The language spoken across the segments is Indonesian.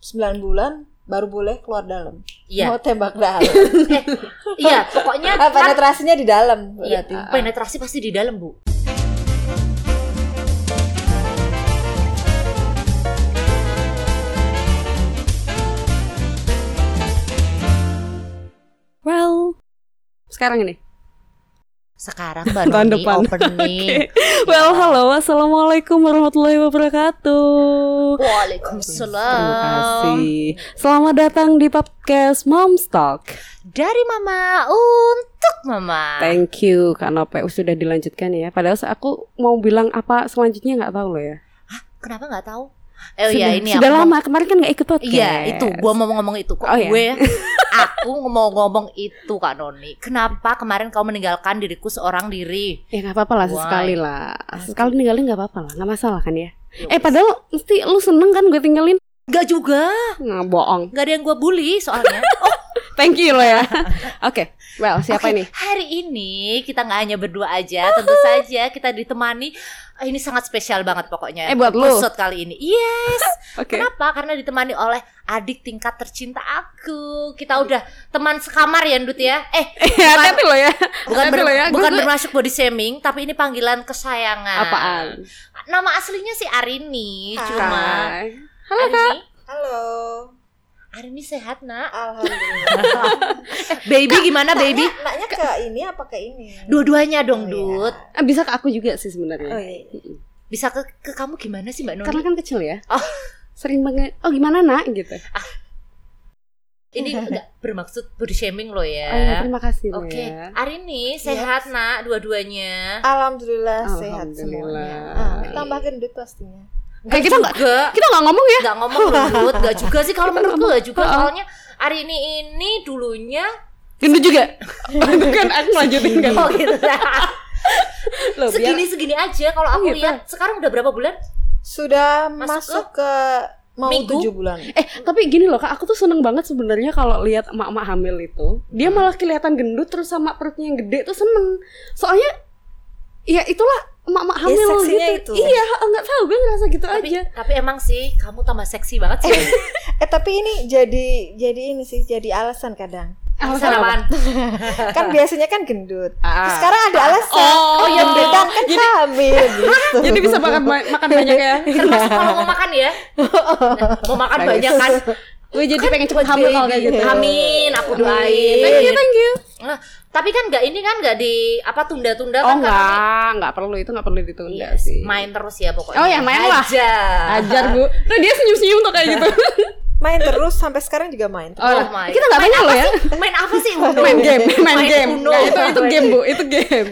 9 bulan baru boleh keluar dalam. Iya. Mau tembak dalam. Iya, pokoknya Ah, kan- penetrasinya di dalam Iya, berarti. penetrasi pasti di dalam, Bu. Well, sekarang ini. Sekarang baru Tahun nih depan. opening. Iya. Well, halo, assalamualaikum warahmatullahi wabarakatuh. Terima Waalaikumsalam. kasih. Selamat datang di podcast Mom's Talk. Dari Mama untuk Mama. Thank you Kak Nope sudah dilanjutkan ya. Padahal se- aku mau bilang apa selanjutnya nggak tahu loh ya. Kenapa nggak tahu? Eh sudah, ya ini sudah aku lama kemarin kan nggak ikut mau- podcast. Iya, itu gua mau ngomong itu kok Oh, iya. gue. ya? aku mau ngomong itu Kak Noni. Kenapa kemarin kau meninggalkan diriku seorang diri? Ya nggak apa-apa lah Why? sesekali lah. Sekali ninggalin nggak apa-apa lah, nggak masalah kan ya. Eh Yowes. padahal mesti lu seneng kan gue tinggalin? Nggak juga, Nggak bohong. nggak ada yang gue bully soalnya. Thank you lo ya. Oke, well Oke, siapa ini? Hari ini kita nggak hanya berdua aja, tentu saja kita ditemani. eh, Ini sangat spesial banget pokoknya. Eh, buat lu. Episode kali ini. Yes. Oke. Kenapa? Karena ditemani oleh adik tingkat tercinta aku. Kita udah teman sekamar ya, Ndut ya. Eh, Eh, Hati-hati lo ya. bukan Nanti ber- lo ya, gue- bukan gue- bermasuk body shaming, tapi ini panggilan kesayangan. Nah, Apaan? Nama aslinya si Arini, Hai. cuma Hai. Arini, Halo. Arini sehat, Nak. Eh, Alhamdulillah. Baby gimana, baby? Naknya ke ini apa ke ini? Dua-duanya Oh, dong, iya. Dut. Eh, Bisa ke aku juga sih Oh, sebenarnya. iya. Bisa ke ke kamu gimana sih, Mbak Noni? Karena kan kecil ya. iya. Oh. Sering banget. Oh gimana nak gitu. Ini nggak bermaksud body shaming lo Oh, iya, ya. terima kasih lo Oke, ya. Arini sehat, Nak, dua-duanya. Alhamdulillah sehat semuanya. Ah, Alhamdulillah. Tambah gendut pastinya. Eh, kita nggak Juga. kita nggak ngomong ya. nggak ngomong gendut nggak juga sih kalau menurut gue nggak juga Heeh. soalnya hari ini ini dulunya Gendut juga. Bukan aku lanjutin kan. oh gitu Loh, biar- segini segini aja kalau aku Gitu. lihat sekarang udah berapa bulan Sudah Masuk masuk ke mau minggu? tujuh bulan. Eh, tapi gini loh Kak, aku tuh seneng banget sebenarnya kalau lihat emak-emak hamil itu, dia malah kelihatan gendut terus sama perutnya yang gede tuh seneng. Soalnya ya itulah emak-emak Ya, hamil seksinya gitu. itu. Iya, nggak tahu gue ngerasa gitu tapi aja. tapi emang sih kamu tambah seksi banget sih Eh tapi ini jadi jadi ini sih jadi alasan kadang. alasan apaan Kan biasanya kan gendut. Ah. Sekarang ada alasan. Oh, iya, gendutan kan hamil gitu. Jadi bisa makan ba- makan banyak ya. termasuk kalau mau makan ya Nah, mau makan Bagus. banyak kan Gue jadi pengen cepet buat hamil kalau kayak baby. gitu. iya, amin aku doain Amin. Thank you, thank you. Nah, tapi kan nggak ini kan nggak di apa tunda-tunda Oh kan karena- enggak, enggak perlu itu enggak perlu ditunda Yes, sih. main terus ya pokoknya Oh, ya, main lah. aja Ajar Bu. Nah, dia senyum-senyum tuh kayak gitu. Main terus sampai sekarang juga main. Oh, Oh my kita nggak banyak loh ya. main apa sih Uno? main game, main, game. Uno. Nggak, itu itu game bu, itu game.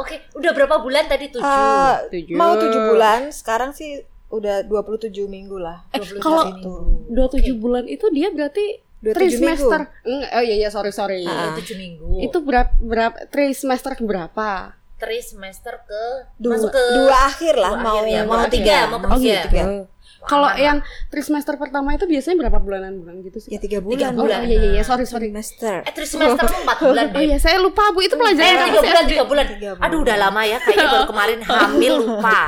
Oke, udah berapa bulan tadi? Tujuh. Eh, Tujuh. mau tujuh bulan, sekarang sih udah 27 minggu lah. Eh, 27 kalau minggu. dua tujuh bulan itu dia berarti 27 trimester. minggu. Enggak, oh iya iya sorry sorry. Ah. tujuh minggu. Itu Itu berapa berapa trimester berapa? tri semester ke Dua, masuk ke dua akhir lah, dua mau akhir ya, gitu. mau mau tiga, tiga, mau mau Oh, gitu ya, tiga. ya? tiga. Iya. Kalau Lama. yang trimester pertama itu biasanya berapa bulanan bulan gitu sih? Ya tiga Tiga bulan. Oh, bulan. oh, iya iya iya sorry sorry. Semester. eh tri semester tuh empat bulan Oh deh. iya saya lupa bu Eh, itu pelajaran tiga apa sih? bulan, tiga bulan. Tiga bulan. Aduh, udah lama ya. Kayaknya baru kemarin hamil lupa.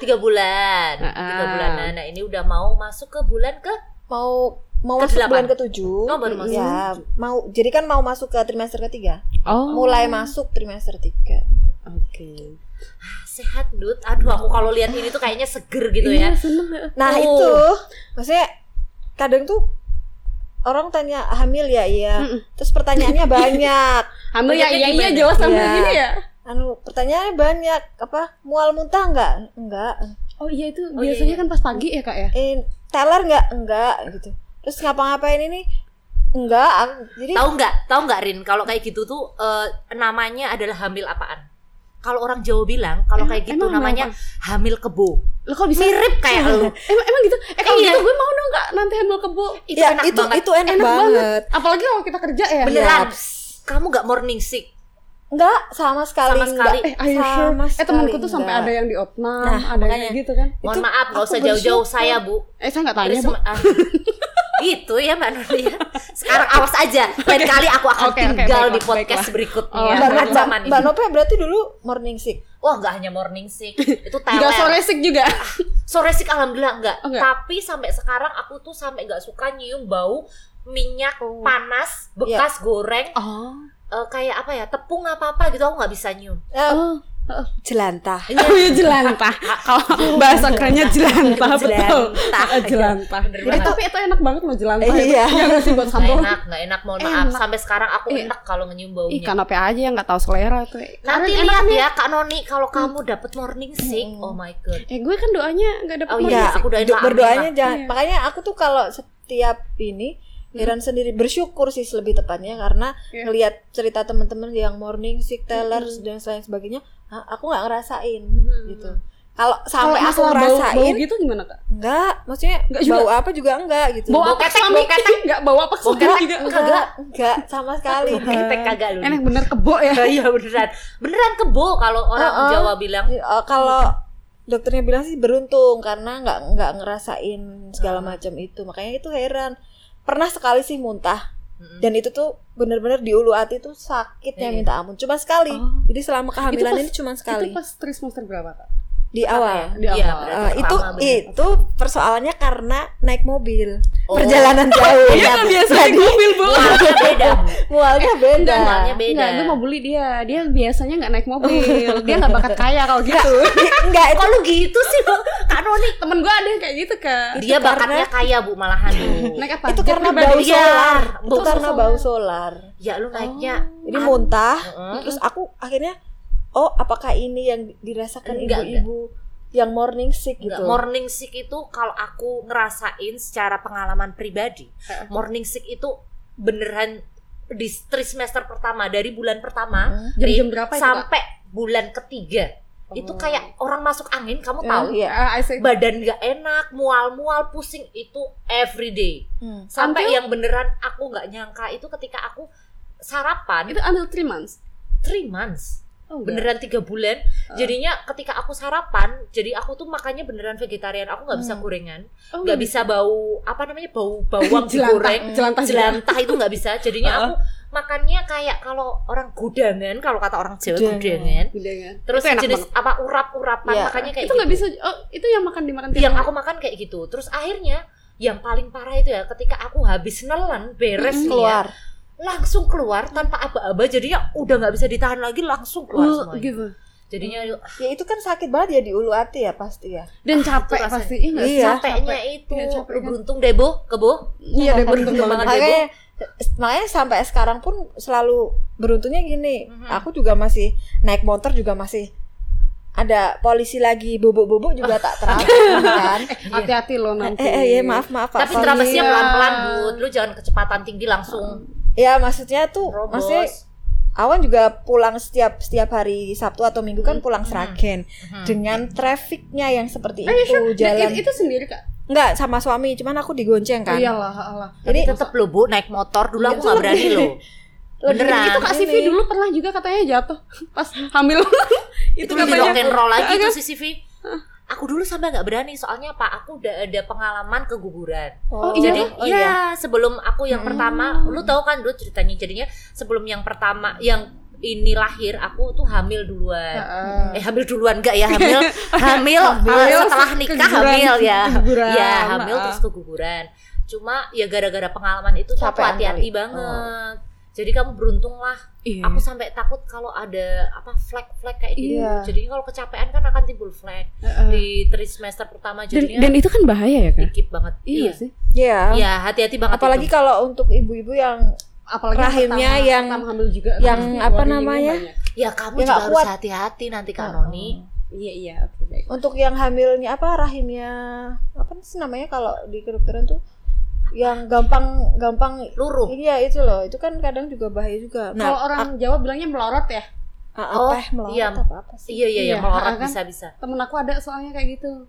Tiga bulan, Ah. tiga bulan. Nah, ini udah mau masuk ke bulan ke Mau mau Ke masuk delapan. bulan Iya. ketujuh. Oh, baru masuk. Ya, mau jadi kan mau masuk ke trimester ketiga. Oh Mulai masuk trimester tiga. Oke. Ah, sehat, Dut. Aduh, aku kalau lihat ini tuh kayaknya seger gitu ya. Iya seneng nggak? Nah Oh. itu, maksudnya kadang tuh orang tanya hamil ya iya. Mm-mm. Terus pertanyaannya banyak. Hamil Bentuknya ya iya iya gimana? jelas hamil Iya. gini ya. Anu pertanyaannya banyak apa mual muntah nggak? Enggak. Oh iya itu Oh, iya, biasanya iya. kan pas pagi ya kak ya. Eh teler nggak? Enggak gitu. Terus ngapa-ngapain ini? Enggak. aku- Jadi Tahu nggak? Tahu nggak Rin? Kalau kayak gitu tuh eh, namanya adalah hamil apaan? Kalau orang Jawa bilang kalau Emang- kayak gitu emang namanya hamil kebo. Lo kok bisa? Mirip kayak lu. Emang emang gitu? Eh kalau Iya. gitu gue mau dong nggak nanti hamil kebo. Itu ya, enak itu banget. itu enak, Enak banget. banget. Apalagi kalau kita kerja ya. Beneran. Yaps. Kamu nggak morning sick. Enggak, sama sekali Sama sekali. enggak. Eh, are you sure? Sama Eh temanku sekali tuh sampai enggak. ada yang di opnam, Nah, ada yang makanya. gitu kan. Mohon Itu maaf, nggak aku usah jauh-jauh bersyukur. saya bu. Eh saya nggak tanya Terus bu. sem- ah. gitu ya mbak Nurul ya. Sekarang awas aja. Lain kali aku akan Oke, oke, tinggal baiklah, di podcast baiklah. berikutnya. Oh, Mbak, Iya, Sama Mbak, nih. Mbak Nope berarti dulu morning sick. wah nggak hanya morning sick itu Enggak teler sore sick juga. sore sih alhamdulillah enggak. Oh, enggak. Tapi sampai sekarang aku tuh sampai enggak suka nyium bau minyak Oh. panas bekas goreng Oh. eh, kayak apa ya tepung apa apa gitu aku nggak bisa nyium. Eh, Oh, jelantah. oh ya jelantah. Kalau bahasa kerennya jelantah betul. Jelantah. Eh, jelantah. Bener Jadi banget. tapi itu enak banget loh jelantah. Eh, itu. iya. Yang ngasih buat Nggak sambal. enak, nggak enak. Mohon maaf. Enak. Sampai sekarang aku Iya. enak kalau nyium Ih, baunya. kanope aja yang nggak tahu selera tuh. Nanti lihat Karen, enak nih. Hmm. ya Kak Noni kalau kamu dapet morning sick, Hmm. oh my god. Eh, gue kan doanya nggak dapat. Oh manis. iya, aku doain Do- lah. berdoanya jangan. Iya. Makanya aku tuh kalau setiap ini Hmm. Heran sendiri bersyukur sih lebih tepatnya karena Iya. ngelihat cerita teman-teman yang morning sick teller dan lain sebagainya, ah, aku nggak ngerasain Hmm. gitu. Kalau Kalau sampai aku masalah bau- ngerasain, bau gitu gimana kak? enggak, maksudnya Enggak juga. bau apa juga enggak gitu. Bau Bau apa ketek, suami? bau ketek. Nggak bau apa suami ketek. juga. enggak, enggak sama sekali. Ketek kagak lu. Enak bener kebo ya. Iya beneran. Beneran kebo kalau orang Uh-uh. Jawa bilang. Eh, kalau dokternya bilang sih beruntung karena nggak nggak ngerasain Hmm. segala macam itu makanya itu heran pernah sekali sih muntah Mm-mm. dan itu tuh bener-bener di ulu hati tuh sakitnya Iya. minta ampun cuma sekali Oh. jadi selama kehamilan pas- ini cuma Itu sekali pas ya? tris monster berapa kak? di awal Di Iya, awal. berarti Eh, itu pertama, bener. itu persoalannya karena naik mobil Oh. perjalanan jauh Iya kan biasa di mobil bu. Mualnya beda. Bu. mualnya beda Mualnya beda. Enggak, gue mau beli dia. Dia biasanya nggak naik mobil. Dia nggak bakat kaya kalau gitu. Kan, oh, enggak itu Kok lu gitu sih, Bu? Kak Noni. Temen gue ada yang kayak gitu kak. Dia bakatnya kaya, Bu, malahan. Bu. Naik apa? itu Jet karena pribadi. Iya. bau Iya, solar itu bau karena solar. bau solar Ya lu naiknya Jadi muntah, Heeh. terus aku akhirnya oh apakah ini yang dirasakan Enggak, ibu-ibu yang morning sick Enggak, gitu. morning sick itu kalau aku ngerasain secara pengalaman pribadi, Heeh. morning sick itu beneran di tri semester pertama dari bulan pertama Hmm. Jam-jam berapa itu, Kak? Oh. sampai bulan ketiga. Itu kayak orang masuk angin, kamu tahu? Iya. Ah, I see. Badan gak enak, mual-mual, pusing itu everyday. Hmm. Sampai Until- yang beneran aku nggak nyangka itu ketika aku sarapan Itu until 3 months. three months Oh, enggak. beneran tiga bulan jadinya ketika aku sarapan jadi aku tuh makannya beneran vegetarian aku nggak bisa Hmm. gorengan Oh, nggak bisa bau apa namanya bau bawang digoreng jelantah, jelantah, ya? jelantah itu nggak bisa jadinya Heeh. aku makannya kayak kalau orang gudangan kalau kata orang jawa Gudangan. gudangan Gudangan. terus Itu enak jenis apa urap-urapan Iya. makannya kayak itu nggak gitu. bisa oh itu yang makan dimakan tiap yang hari. aku makan kayak gitu terus akhirnya yang paling parah itu ya ketika aku habis nelen beres Mm-mm. nih ya, Keluar. langsung keluar tanpa aba-aba jadinya udah nggak bisa ditahan lagi langsung keluar Uh, semuanya gitu jadinya Ya itu kan sakit banget ya di ulu hati ya pasti ya. dan capek rasanya. pasti iya nggak sih? Iya. eh, capeknya itu Iya, capek lu kan. beruntung deh bo kebo iya deh beruntung Beruntung banget banget. Ada Makanya makanya sampai sekarang pun selalu beruntungnya gini. Mhm. Aku juga masih naik motor juga masih ada polisi lagi bubuk-bubuk juga tak terapkan kan. hati-hati loh nanti Eh, eh, iya, maaf maaf Pak. tapi Sorry. terabasnya iya. pelan-pelan bu lu jangan kecepatan tinggi langsung Ya maksudnya tuh Robos. maksudnya Awan juga pulang setiap setiap hari Sabtu atau Minggu kan pulang Seragen Mhm. dengan trafiknya yang seperti Eh, itu sure. Dan jalan itu, itu sendiri kak nggak sama suami cuman aku digonceng kan iyalah alah jadi tetep lo bu naik motor dulu Iya. aku Itu nggak lebih- berani lo Lebih- beneran itu kak Ini. Sivi dulu pernah juga katanya jatuh pas hamil itu, kan itu lebih rock katanya and roll lagi Iya, itu CCV aku dulu sampai nggak berani soalnya pak aku udah ada pengalaman keguguran Oh, iya? Hmm. jadi oh, ya iya. sebelum aku yang Mm-mm. pertama lu tahu kan dulu ceritanya jadinya sebelum yang pertama yang ini lahir aku tuh hamil Ah, duluan Heeh. eh hamil duluan enggak ya hamil hamil, Hamil, eh, setelah nikah keguguran. Iya, hamil ya Keguguran, ya hamil ah. terus keguguran cuma ya gara-gara pengalaman itu tuh aku Capean kali. hati-hati banget Oh. jadi kamu beruntung lah Iya. aku sampai takut kalau ada apa flag-flag kayak gitu Iya. jadi kalau kecapean kan akan timbul flag Heeh. di tri semester pertama Ah, Iya. dan, jadinya dan itu kan bahaya ya kak dikit banget iya kan sih Iya. ya hati-hati banget apalagi itu. kalau untuk ibu-ibu yang apalagi Rahimnya pertama- yang- pertama hamil juga yang pasti apa keluarin ini namanya? banyak. ya kamu Ya, juga nggak harus kuat. hati-hati nanti kak Oh. Noni iya iya oke baik untuk yang hamilnya apa rahimnya apa sih namanya kalau di kedokteran tuh yang gampang gampang luruh Iya itu loh, itu kan kadang juga bahaya juga. kalau Nah, orang Jawa bilangnya melorot ya apa Oh, melorot iya. apa apa sih? iya iya iya Iya, melorot kan? bisa-bisa temen aku ada soalnya kayak gitu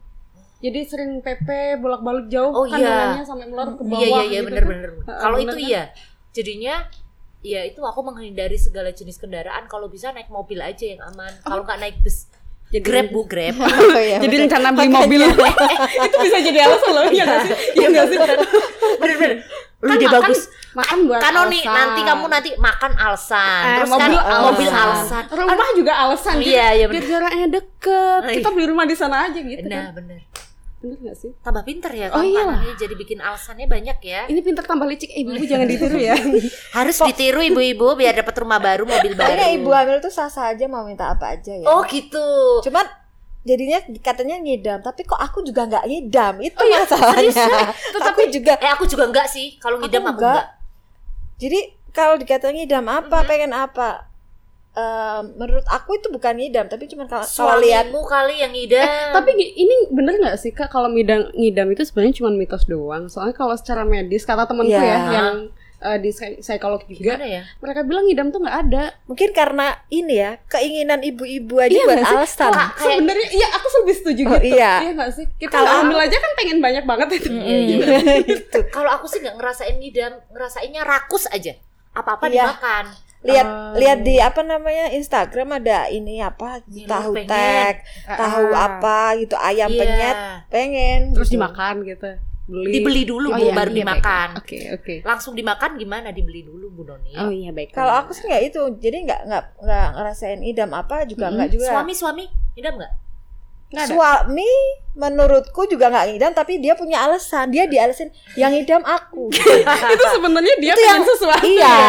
jadi sering PP bolak-balik jauh Oh, kan iya. jalannya sampai melorot ke bawah Iya iya iya gitu bener kan. bener. Heeh, Kalau bener itu kan? iya. Jadinya ya itu aku menghindari segala jenis kendaraan. Kalau bisa naik mobil aja yang aman. Oh. Kalau nggak naik bus, jadi grab bu grab. Oh, iya, jadi betul. rencana beli mobil itu bisa jadi alasan loh ya iya nggak sih ya nggak sih Bener bener. Lu Kan dia makan- bagus. Kan makan buat Kanoni alasan. nanti kamu nanti makan alasan, Eh, terus mobil kan alasan. mobil alasan. rumah juga alasan Aduh, iya, iya, biar jaraknya deket Iya. kita beli rumah di sana aja gitu Nah, kan bener. bener gak sih Tambah pinter ya Oh, kamu iyalah. Kanoni, jadi bikin alasannya banyak ya. ini pinter tambah licik Eh, ibu-ibu jangan ditiru ya Harus ditiru ibu-ibu biar dapat rumah baru, mobil baru. Kayaknya iya, ibu hamil tuh sah-sah aja mau minta apa aja ya. Oh gitu. Cuman jadinya katanya ngidam, tapi kok aku juga nggak ngidam. Itu Oh iya, serius, ya? masalahnya. Tapi juga Eh aku juga enggak sih. Kalau ngidam aku, enggak. Jadi kalau dikatakan ngidam apa, pengen apa? Em, menurut aku itu bukan ngidam, tapi cuman kalau kalau lihat Suamimu kali yang ngidam. Eh, tapi gi- ini bener nggak sih kak kalau midang ngidam itu sebenarnya cuma mitos doang soalnya kalau secara medis kata temanku Iya. ya yang eh, di psik- psikologi juga gimana ya? mereka bilang ngidam tuh nggak ada mungkin karena ini ya, keinginan ibu-ibu aja Iya buat nggak sih? alasan. Wah, kayak- sebenarnya iya aku lebih setuju Oh, gitu iya. nggak sih kita Kalau- kalau hamil aja kan pengen banyak banget itu Iya, iya. Gitu. Kalau aku sih nggak ngerasain ngidam, ngerasainnya rakus aja. Apa-apa Iya. dimakan. Lihat Oh. lihat di apa namanya Instagram ada ini apa Ini tahu pengen. tek, tahu Iya, Ah. apa gitu, ayam Iya. penyet pengen terus gitu. dimakan gitu beli Dibeli dulu Oh, Bu, iya, baru iya, dimakan. baik. oke oke Langsung dimakan gimana dibeli dulu Bu Noni? oh iya baik Kalau aku sih nggak itu, jadi nggak nggak nggak ngerasain idam apa juga Mm-mm. nggak juga. Suami-suami ngidam nggak? Nggak ada. Suami menurutku juga nggak ngidam, tapi dia punya alasan. Dia dialasin yang ngidam aku. Gitu. itu sebenarnya dia pengen sesuatu iya.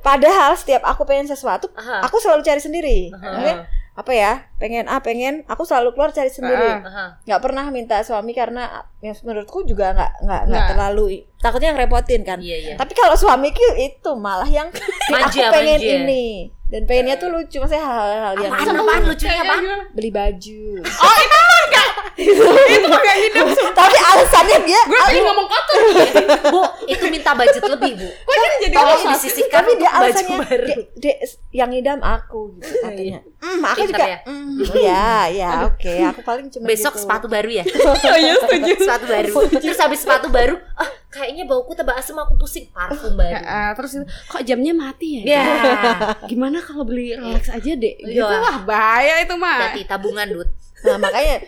Padahal setiap aku pengen sesuatu, Aha. aku selalu cari sendiri. Aha. Mungkin, apa ya? Pengen ah pengen, aku selalu keluar cari sendiri. Aha. Nggak pernah minta suami karena yang menurutku juga nggak nggak nggak Nggak. terlalu takutnya yang repotin kan. Iya, iya. Tapi kalau suamiku itu malah yang aku Manja, pengen manja. ini dan pengennya tuh lucu, maksudnya hal-hal yang Apaan, apaan Iya, lucunya apaan? beli baju. itu mah gak ngidam tapi alasannya dia gue pengen ngomong kotor Bu, itu minta budget lebih, Bu. gue kan jadi Tapi orang disisihkan Iya, tapi dia untuk baju alasannya baru. "Dek, Dek, yang ngidam aku gitu katanya hmm aku Pinter juga ya. "Mm, ya ya oke aku paling cuma Besok gitu. sepatu baru ya? oh iya setuju sepatu baru. Terus habis sepatu baru, ah kayaknya bauku tebak asem aku pusing parfum Ya, baru. eh, terus itu, kok jamnya mati ya Iya. Ya. gimana kalau beli relax aja deh gitu Iya. lah bahaya itu mah Hati tabungan, Dut. nah makanya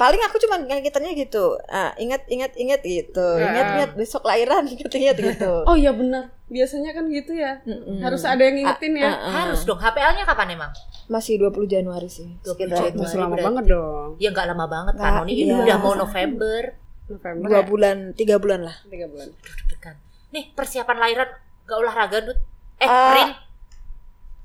paling aku cuma ngingetinnya gitu ah, ingat ingat ingat gitu Iya. Ya. ingat ingat besok lahiran ingat ingat gitu oh iya benar biasanya kan gitu ya Mm-mm. harus ada yang ngingetin ya Ah, ah, ah. Harus dong. HPL-nya kapan emang? masih 20 Januari sih 20 sekitar Januari. masih lama berarti. banget dong Ya nggak lama banget Nggak, kan, Noni. Ini iya. udah mau November. November dua ya? bulan tiga bulan lah tiga bulan Deg-degan. Nih persiapan lahiran nggak olahraga, Dut. Eh, Ah. Rin,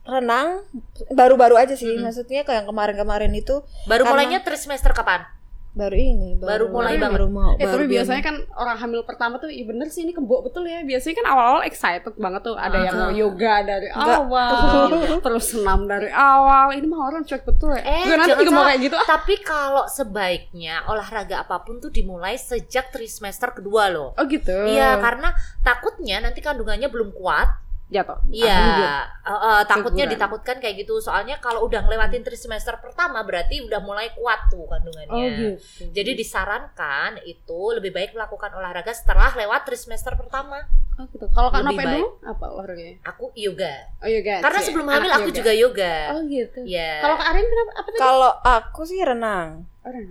renang baru-baru aja sih Mm-mm. maksudnya kayak yang kemarin-kemarin itu baru Karena- mulainya trimester kapan? baru ini Baru mulai baru, banget. mau Eh, baru tapi biasanya kan orang hamil pertama tuh, iya bener sih ini kembok betul ya. Biasanya kan awal-awal excited banget tuh, ada yang Ah. yoga dari Enggak. awal, terus senam dari awal. Ini mah orang cuek betul ya. Eh, Gue nanti jangan juga mau salah. kayak gitu. Ah, Tapi kalau sebaiknya olahraga apapun tuh dimulai sejak trimester kedua loh. oh gitu. Iya, karena takutnya nanti kandungannya belum kuat. Jatuh. Iya, Ah, gitu. eh, eh, takutnya Keguguran. ditakutkan kayak gitu. Soalnya kalau udah ngelewatin trimester pertama berarti udah mulai kuat tuh Oh kandungannya. gitu. Jadi disarankan itu lebih baik melakukan olahraga setelah lewat trimester pertama. oh, gitu. Kalau kan Lebih apa baik. dulu? Apa olahraganya? Aku yoga. Oh yoga. Karena sih. sebelum Anak hamil aku juga yoga. Oh gitu. Iya. Kalau Kak Arin kenapa apa tadi? kalau aku sih renang Orang.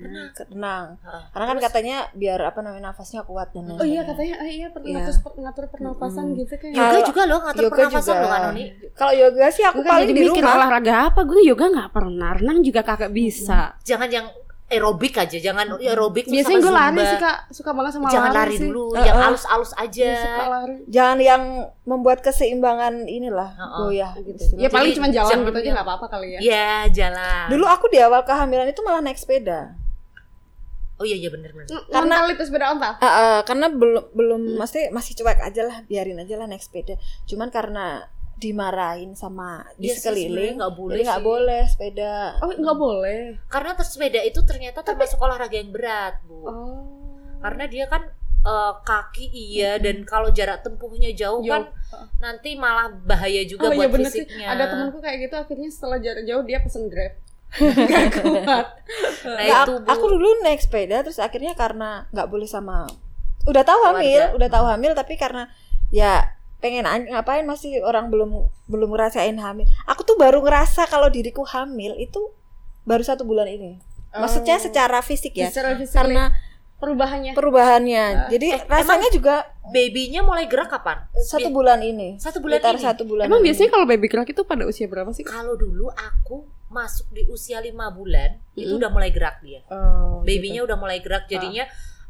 renang Heeh. karena kan katanya biar apa namanya nafasnya kuat dan lain-lain. Ah, Oh iya katanya ah, iya per- Iya. ngatur, ngatur pernapasan Mm-mm. gitu kan. yoga Kalau juga loh ngatur yoga pernafasan juga. loh kan Noni. kalau yoga sih aku Gue kan paling jadi di mikir rumah olahraga apa, gue yoga gak pernah, renang juga kagak bisa Jangan yang aerobik aja, jangan aerobik terus Biasanya sama gue lari Zumba. sih kak, suka banget sama Jangan lari, lari sih. dulu, Heeh. yang alus-alus aja. Iya, suka lari. jangan yang membuat keseimbangan inilah Heeh. goyah Gitu. gitu Ya paling cuma jalan jangan gitu aja yang- nggak apa-apa kali ya. Iya, jalan. dulu aku di awal kehamilan itu malah naik sepeda Oh iya iya bener bener. Karena itu sepeda onta. Eh, eh, karena belum belum Hmm. masih masih cuek aja lah biarin aja lah naik sepeda cuman karena dimarahin sama di Iya sih, sebenarnya sekeliling nggak boleh jadi nggak sih. boleh sepeda Nah, Oh nggak boleh. Karena tersepeda itu ternyata termasuk olahraga yang berat, Bu. Oh. Karena dia kan eh, kaki iya dan kalau jarak tempuhnya jauh Jauh. kan nanti malah bahaya juga Oh buat iya bener sih. fisiknya. Ada temanku kayak gitu akhirnya setelah jarak jauh dia pesen grab. Gak kuat. Nah, Nggak, itu, aku, Bu. aku dulu naik sepeda terus akhirnya karena nggak boleh sama udah tahu hamil Keluarga. udah tahu hamil tapi karena ya pengen an- ngapain masih orang belum belum ngerasain hamil aku tuh baru ngerasa kalau diriku hamil itu baru satu bulan ini maksudnya Oh. secara fisik ya Secara fisik. karena perubahannya perubahannya. Jadi Eh, rasanya juga Babynya mulai gerak kapan? satu bulan ini. Satu bulan Sekitar ini? satu bulan. emang ini. biasanya kalau baby gerak itu pada usia berapa sih Kalau dulu aku masuk di usia lima bulan itu Mm. udah mulai gerak dia. Eh, Oh, Ah. Babynya udah mulai gerak jadinya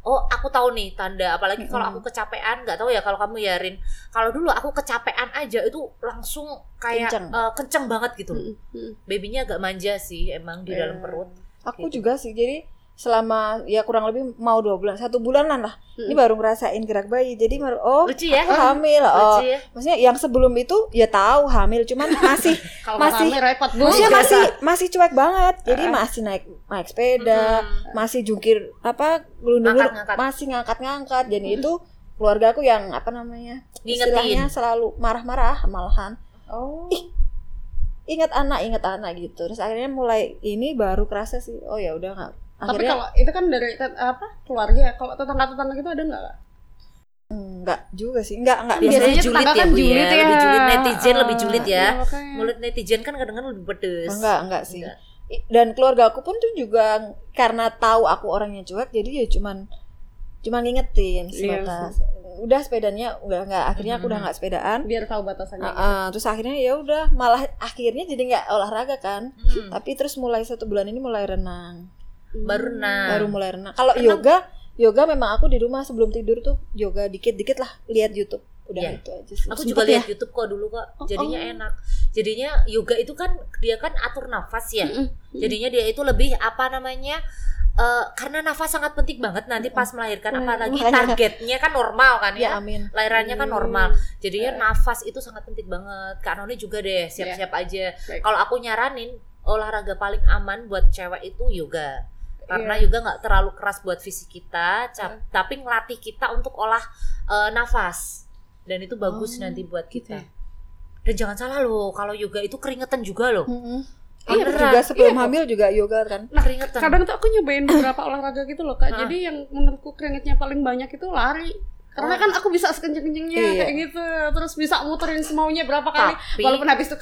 oh aku tahu nih tanda apalagi kalau Mm-mm. aku kecapean nggak tahu ya kalau kamu ya Rin. Kalau dulu aku kecapean aja itu langsung kayak Kenceng. eh, kenceng banget gitu loh. Mm, mm. Babynya agak manja sih emang di Iya. dalam perut. Aku Gitu. juga sih. Jadi selama ya kurang lebih mau dua bulan, satu bulanan lah. Ini Mm. baru ngerasain gerak bayi. Jadi baru oh Lucu ya? aku hamil. Oh, Lucu ya? maksudnya yang sebelum itu ya tahu hamil, cuman masih kalau masih- hamil repot bu maksudnya masih masih cuek banget. Jadi masih naik naik sepeda, Mm-mm. masih jungkir apa gelundung Ngangkat-ngangkat. masih ngangkat-ngangkat. Jadi itu keluarga aku yang apa namanya? Ngingetin. Istilahnya selalu marah-marah malahan. oh ingat anak ingat anak gitu terus akhirnya mulai ini baru kerasa sih oh ya udah nggak tapi akhirnya kalau itu kan dari tet- apa keluarga ya kalau tetangga tetangga gitu ada nggak Kak? nggak juga sih nggak nggak Biasanya biasanya julid tetangga kan ya, Bu, ya. Lebih julid, netizen Ah, lebih julid ya. iya, makanya. Mulut netizen kan kadang-kadang lebih pedes. nggak nggak sih Enggak. I- dan keluarga aku pun tuh juga karena tahu aku orangnya cuek jadi ya cuman cuman ngingetin Iya sebatas udah sepedanya udah nggak akhirnya aku udah Mhm. nggak sepedaan biar tahu Ah, batasannya ah, terus akhirnya ya udah malah akhirnya jadi nggak olahraga kan Hmm, tapi terus mulai satu bulan ini mulai renang Hmm. baru nah. Hmm, baru mulai renang. Kalau Renang- yoga, yoga memang aku di rumah sebelum tidur tuh yoga dikit-dikit lah lihat YouTube. Udah Iya. itu aja sih. Aku Sempet juga ya? lihat YouTube kok dulu kok. Oh, Jadinya oh. enak. Jadinya yoga itu kan dia kan atur nafas ya. Mm-mm. Jadinya dia itu lebih apa namanya? eh, karena nafas sangat penting banget nanti pas melahirkan apalagi Iya. Makanya. targetnya kan normal kan Ya ya. amin. Lahirannya Hmm, kan normal. Jadinya Iya. nafas itu sangat penting banget. Kak Noni juga deh siap-siap aja. Iya. Baik. Kalau aku nyaranin olahraga paling aman buat cewek itu yoga. iya. karena juga nggak terlalu keras buat fisik kita, cap- tapi ngelatih kita untuk olah eh, nafas dan itu bagus Oh, nanti buat gitu kita. ya. Dan jangan salah loh, kalau yoga itu keringetan juga loh. Mm-mm. Iya, Aku beneran. juga sebelum Iya. hamil juga yoga kan. Nah, Keringetan. kadang tuh aku nyobain beberapa olahraga gitu loh kak Ah. jadi yang menurutku keringetnya paling banyak itu lari karena Oh. kan aku bisa sekenceng-kencengnya Iya. kayak gitu terus bisa muterin semaunya berapa kali tapi, walaupun habis itu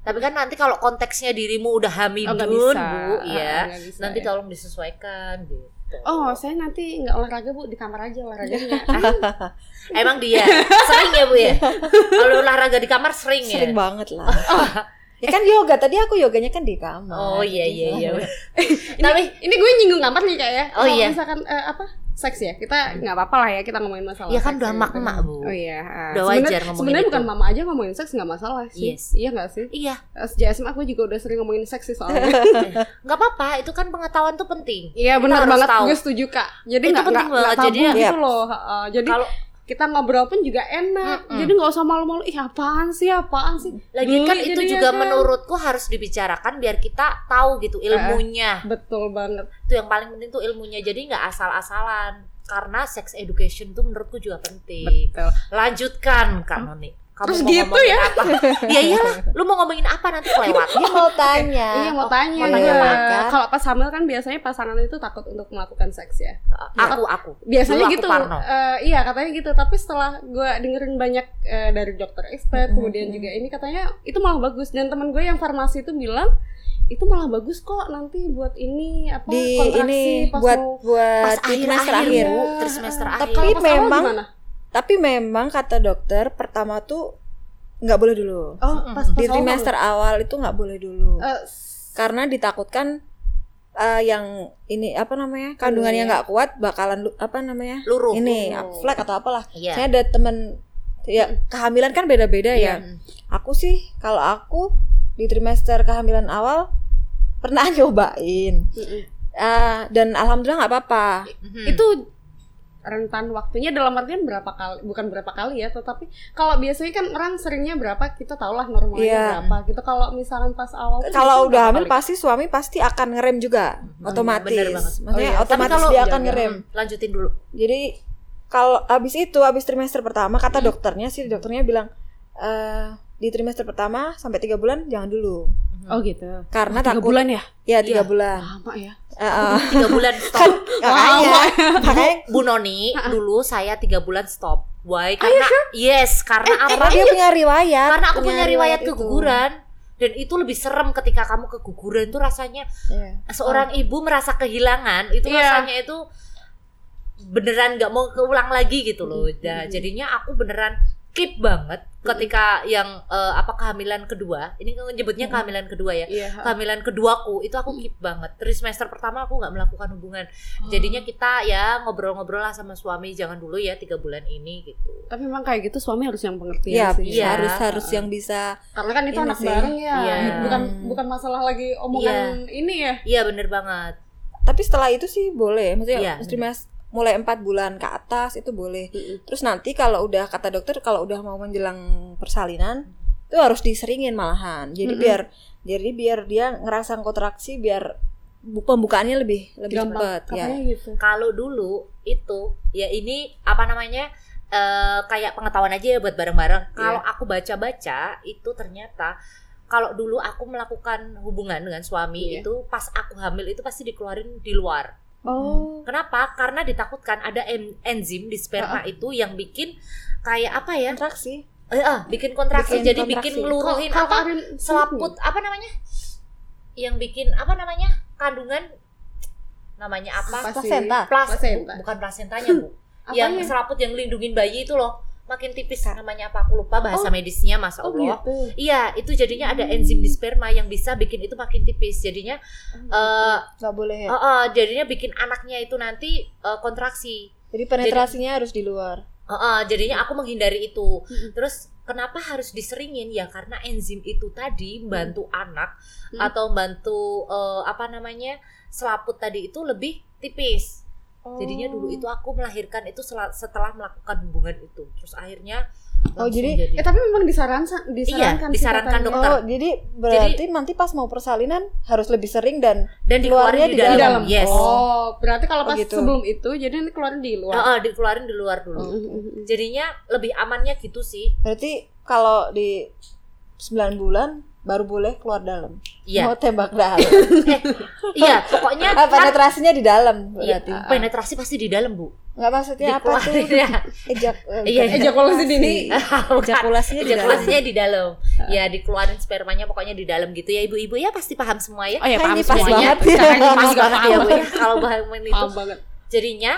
tapi kan nanti kalau konteksnya dirimu udah oh, hamidun, nggak bisa Bu, ya. Ah, nggak bisa, nanti ya. tolong disesuaikan gitu. oh saya nanti nggak olahraga bu di kamar aja Iya. olahraganya Emang dia sering ya, Bu Iya. ya? Kalau olahraga di kamar sering, Sering ya. banget lah. ya kan yoga tadi aku yoganya kan di kamar. Oh iya iya iya. ini, ini gue nyinggung kamar nih kayak ya Oh, Kalau iya. misalkan eh, apa seks ya kita nggak apa-apa lah ya kita ngomongin masalah Iya kan seks udah ya, gitu. emak-emak, Bu. Oh iya. ah. Udah Sebenar- wajar ngomongin Sebenarnya itu. bukan mama aja ngomongin seks nggak masalah sih. Yes. Iya nggak sih? Iya, Eh, Sejak SMA aku juga udah sering ngomongin seks sih soalnya. nggak apa-apa, itu kan pengetahuan tuh penting. Iya benar harus banget. tahu. Gue setuju kak. Jadi Itu nggak penting nggak nggak banget. tabu Jadinya- gitu Yep. loh. Heeh. jadi Kalau kita ngobrol pun juga enak. Mm-mm. Jadi nggak usah malu-malu. Ih apaan sih? Apaan sih? Lagian kan Geli itu jadinya juga kan. menurutku harus dibicarakan biar kita tahu gitu ilmunya. Betul banget. Itu yang paling penting tuh ilmunya. Jadi nggak asal-asalan. Karena sex education tuh menurutku juga penting. Betul. Lanjutkan Kak Noni. Kamu Terus mau gitu ngomongin apa? ya iyalah, lu mau ngomongin apa nanti kelewat. Dia mau tanya. Iya Oh, mau tanya. mau tanya Iya. apa, kan? Kalau pas hamil kan biasanya pasangan itu takut untuk melakukan seks ya. Eh, Aku aku. biasanya Dulu aku gitu Parno. Eh, iya katanya gitu tapi setelah gue dengerin banyak eh, dari dokter expert Mm-mm. kemudian juga ini katanya itu malah bagus dan teman gue yang farmasi itu bilang itu malah bagus kok nanti buat ini apa di kontraksi ini pas buat mau- buat Pas Eh, di trimester akhir-akhir, akhir. Bu, trimester akhir. kalau Tapi pas awal memang- gimana? Tapi memang kata dokter pertama tuh nggak boleh dulu. oh pas, pas Di awal trimester awal itu nggak boleh dulu. Eh, karena ditakutkan eh, yang ini apa namanya kandungan yang nggak kuat bakalan lu- apa namanya Luruh. ini Oh. flek atau apalah Iya. saya ada temen ya kehamilan kan beda-beda ya Mm. aku sih kalau aku di trimester kehamilan awal pernah nyobain mm-mm. Ah, dan alhamdulillah nggak apa-apa Mhm. itu rentan waktunya dalam artian berapa kali bukan berapa kali ya tetapi kalau biasanya kan orang seringnya berapa kita tahulah normalnya Iya. berapa gitu kalau misalkan pas awal tuh Eh, biasanya kalau udah berapa hamil kali? pasti suami pasti akan ngerem juga Hmm, otomatis bener banget. maksudnya Oh, iya. otomatis kalau- dia akan iya, ngerem Mm, Lanjutin dulu. Jadi kalau abis itu abis trimester pertama kata dokternya sih dokternya bilang "Eh, di trimester pertama sampai tiga bulan jangan dulu oh gitu karena tiga takut bulan ya ya tiga Iya. bulan lama ya Heeh. Tiga bulan stop. makanya makanya Bu Noni, dulu saya tiga bulan stop. Why? Karena yes, karena karena apa? dia punya riwayat Iya. karena aku punya riwayat Iya, itu. keguguran dan itu lebih serem ketika kamu keguguran tuh rasanya Iya. seorang ibu merasa kehilangan itu Iya. rasanya itu beneran nggak mau keulang lagi gitu loh. Hmm, Nah, jadinya aku beneran keep banget ketika yang eh, apa kehamilan kedua. Ini kan nyebutnya Hmm. kehamilan kedua ya. Iya. Kehamilan keduaku itu aku keep banget. Tri semester pertama aku nggak melakukan hubungan. Jadinya kita ya ngobrol-ngobrol lah sama suami jangan dulu ya tiga bulan ini gitu. Tapi memang kayak gitu suami harus yang pengertian Iya, sih. iya. harus harus yang bisa Karena kan itu Ini anak sih. bareng ya. Iya. Bukan bukan masalah lagi omongan ini ya. Iya bener banget. tapi setelah itu sih boleh Iya. maksudnya mesti mas- mulai empat bulan ke atas itu boleh terus nanti kalau udah kata dokter kalau udah mau menjelang persalinan itu harus diseringin malahan jadi Mm-mm. biar jadi biar dia ngerasa kontraksi biar bu- pembukaannya lebih lebih cepat iya. ya Katanya gitu. Kalau dulu itu ya ini apa namanya eh, kayak pengetahuan aja ya buat bareng-bareng. Kalau aku baca-baca itu ternyata kalau dulu aku melakukan hubungan dengan suami Iya. itu pas aku hamil itu pasti dikeluarin di luar. Hmm. Oh. Kenapa? Karena ditakutkan ada en- enzim di sperma itu yang bikin kayak apa ya? kontraksi Eh, eh, bikin kontraksi Bikin jadi kontraksi. bikin ngeluruhin Kalau apa? Karin selaput apa namanya? Yang bikin apa namanya? Kandungan namanya apa? Apa sih? Placenta. Plas, Placenta. bu- bukan plasentanya bu Apa yang ya? selaput yang lindungin bayi itu loh makin tipis namanya apa aku lupa bahasa medisnya masa Oh Allah gitu. iya itu jadinya ada enzim di sperma yang bisa bikin itu makin tipis jadinya eh nggak boleh ya Oh. eh, eh, jadinya bikin anaknya itu nanti eh, kontraksi jadi penetrasinya harus di luar Eh, eh, jadinya aku menghindari itu Mm-mm. terus kenapa harus diseringin ya karena enzim itu tadi membantu anak Mm. atau membantu eh, apa namanya selaput tadi itu lebih tipis Oh. Jadinya dulu itu aku melahirkan itu sela- setelah melakukan hubungan itu. Terus akhirnya Oh, langsung jadi- Eh tapi memang disarankan disarankan Iya, sih disarankan katanya. dokter. Oh, jadi berarti nanti pas mau persalinan harus lebih sering dan dan keluarnya dikeluarin di di dalam. Di dalam. Yes. Oh, berarti kalau Oh, pas gitu. sebelum itu jadi nanti keluarin di luar. Heeh, dikeluarin di luar dulu. Mm-mm. Jadinya lebih amannya gitu sih. berarti kalau di 9 bulan baru boleh keluar dalam. Iya. Mau tembak dalam. Iya, pokoknya Ah, kan penetrasinya di dalam Iya, berarti. penetrasi pasti di dalam, Bu. Nggak maksudnya apa tuh? Dikeluarin ya. Ejak eh, Iya, bukan ejakulasi dini. Bukan. Ejakulasinya di dalam. Ejakulasinya di dalam. Ya, dikeluarin spermanya pokoknya di dalam gitu ya, Ibu-ibu ya pasti paham semua ya. Oh Kan ya, paham ini pas banget semuanya. ya. Sekarang ini Pas juga banget ya, paham. Bu, ya, kalau bahamin itu Paham banget. jadinya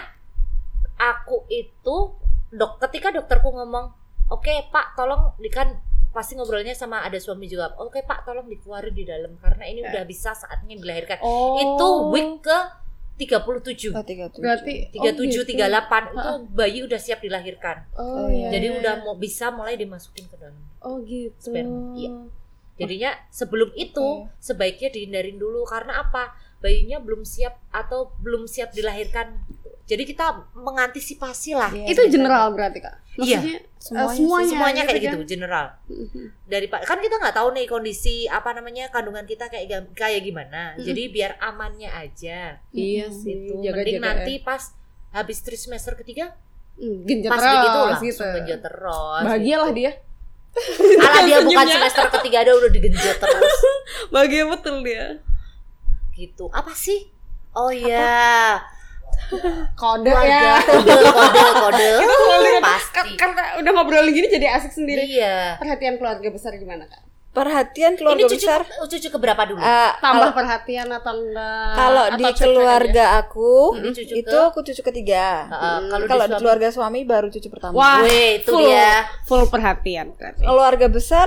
aku itu dok ketika dokterku ngomong oke pak tolong di kan pasti ngobrolnya sama ada suami juga oke pak tolong dikeluarin di dalam karena ini Ya. udah bisa saatnya dilahirkan Oh. itu week ke 37 37 Oh, tiga tujuh. Berarti oh, 38 gitu. itu bayi udah siap dilahirkan Oh, Oh, iya. iya. jadi udah mau bisa mulai dimasukin ke dalam Oh gitu. Sperma, iya. jadinya sebelum itu sebaiknya dihindarin dulu karena apa bayinya belum siap atau belum siap dilahirkan jadi kita mengantisipasi lah Iya, iya. Itu general berarti kak. Maksudnya semuanya, eh, sih. semuanya. semuanya gitu kayak kan. gitu general Mhm. dari kan kita nggak tahu nih kondisi apa namanya kandungan kita kayak gam- kayak gimana Mm-mm. jadi biar amannya aja Iya Mhm. sih. gitu Jaga mending jaga. eh. nanti pas habis tri semester ketiga genjot pas terus begitu lah gitu. genjot terus Bahagialah dia. Alah, dia bukan Senyumnya. semester ketiga ada udah digenjot terus Bahagia betul dia. gitu apa sih oh iya Kode keluarga ya. kode kode kode Kan, pasti karena udah ngobrol gini jadi asik sendiri. iya Perhatian keluarga besar gimana kak? perhatian ini keluarga cucu oh, Ah, besar. cucu keberapa dulu Eh, Ah, Tambah perhatian atau enggak? kalau Atau di cuek-cuek aja? keluarga aku Ini kan ya? cucu itu ke- aku cucu ketiga. Heeh, kalau di Kalau di suami- keluarga suami baru cucu pertama. Wah, Weh, itu Ah, full, dia full perhatian. berarti. Keluarga besar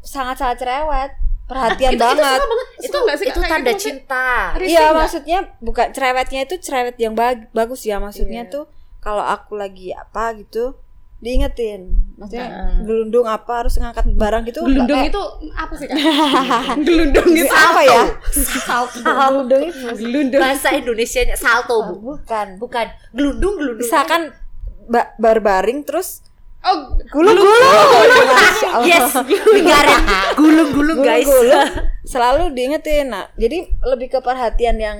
sangat-sangat cerewet, perhatian Itu- itu banget. suka banget. Suka nggak sih, itu Kak? Kayak tanda gitu, maksudnya- cinta Risih Iya nggak? maksudnya bukan cerewetnya itu cerewet yang bag- bagus ya maksudnya Iya. tuh kalau aku lagi apa gitu diingetin maksudnya Heeh. gelundung apa harus ngangkat barang gitu Gelundung eh, itu apa sih kak? gelundung itu apa ya salto gelundung itu Gelundung. bahasa Indonesia salto Oh, bu bukan bukan gelundung gelundung kan? misalkan ba- barbaring terus Oh, gulung gulung Masya Allah. yes negara gulung gulung guys Gulung-gulung selalu diingetin nah jadi lebih ke perhatian yang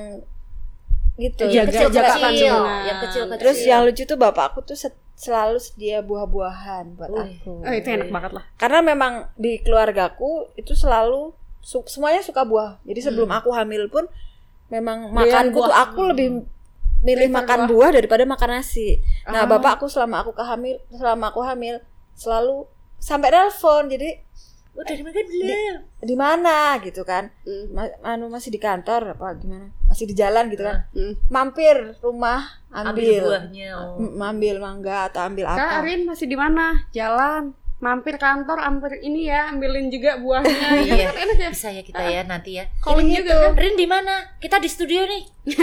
gitu Jaga- kecil- jaga kecil. kecil kandungan. yang kecil kecil terus Iya. yang lucu tuh bapak aku tuh set- selalu sedia buah-buahan buat Wih. aku oh itu enak banget lah. karena memang di keluargaku itu selalu su- semuanya suka buah jadi sebelum aku hamil pun memang Doyan makanku tuh Hmm. buah. Hmm. aku lebih milih Prefer makan buah. buah. daripada makan nasi nah Ah. bapak aku selama aku kehamil selama aku hamil selalu sampai nelpon jadi Oh, dari mana belum? di mana gitu kan Hmm. Ma- anu masih di kantor apa gimana masih di jalan gitu kan Hmm. mampir rumah ambil Ambil buahnya. oh. Mm. M- ambil mangga atau ambil Kak apa Arin masih di mana? Jalan. Mampir kantor, mampir ini ya, ambilin juga buahnya. Iya. Kan enak ya. Bisa ya kita ya nanti ya. Calling Ini gitu. juga. kan? Rin di mana? Kita di studio nih.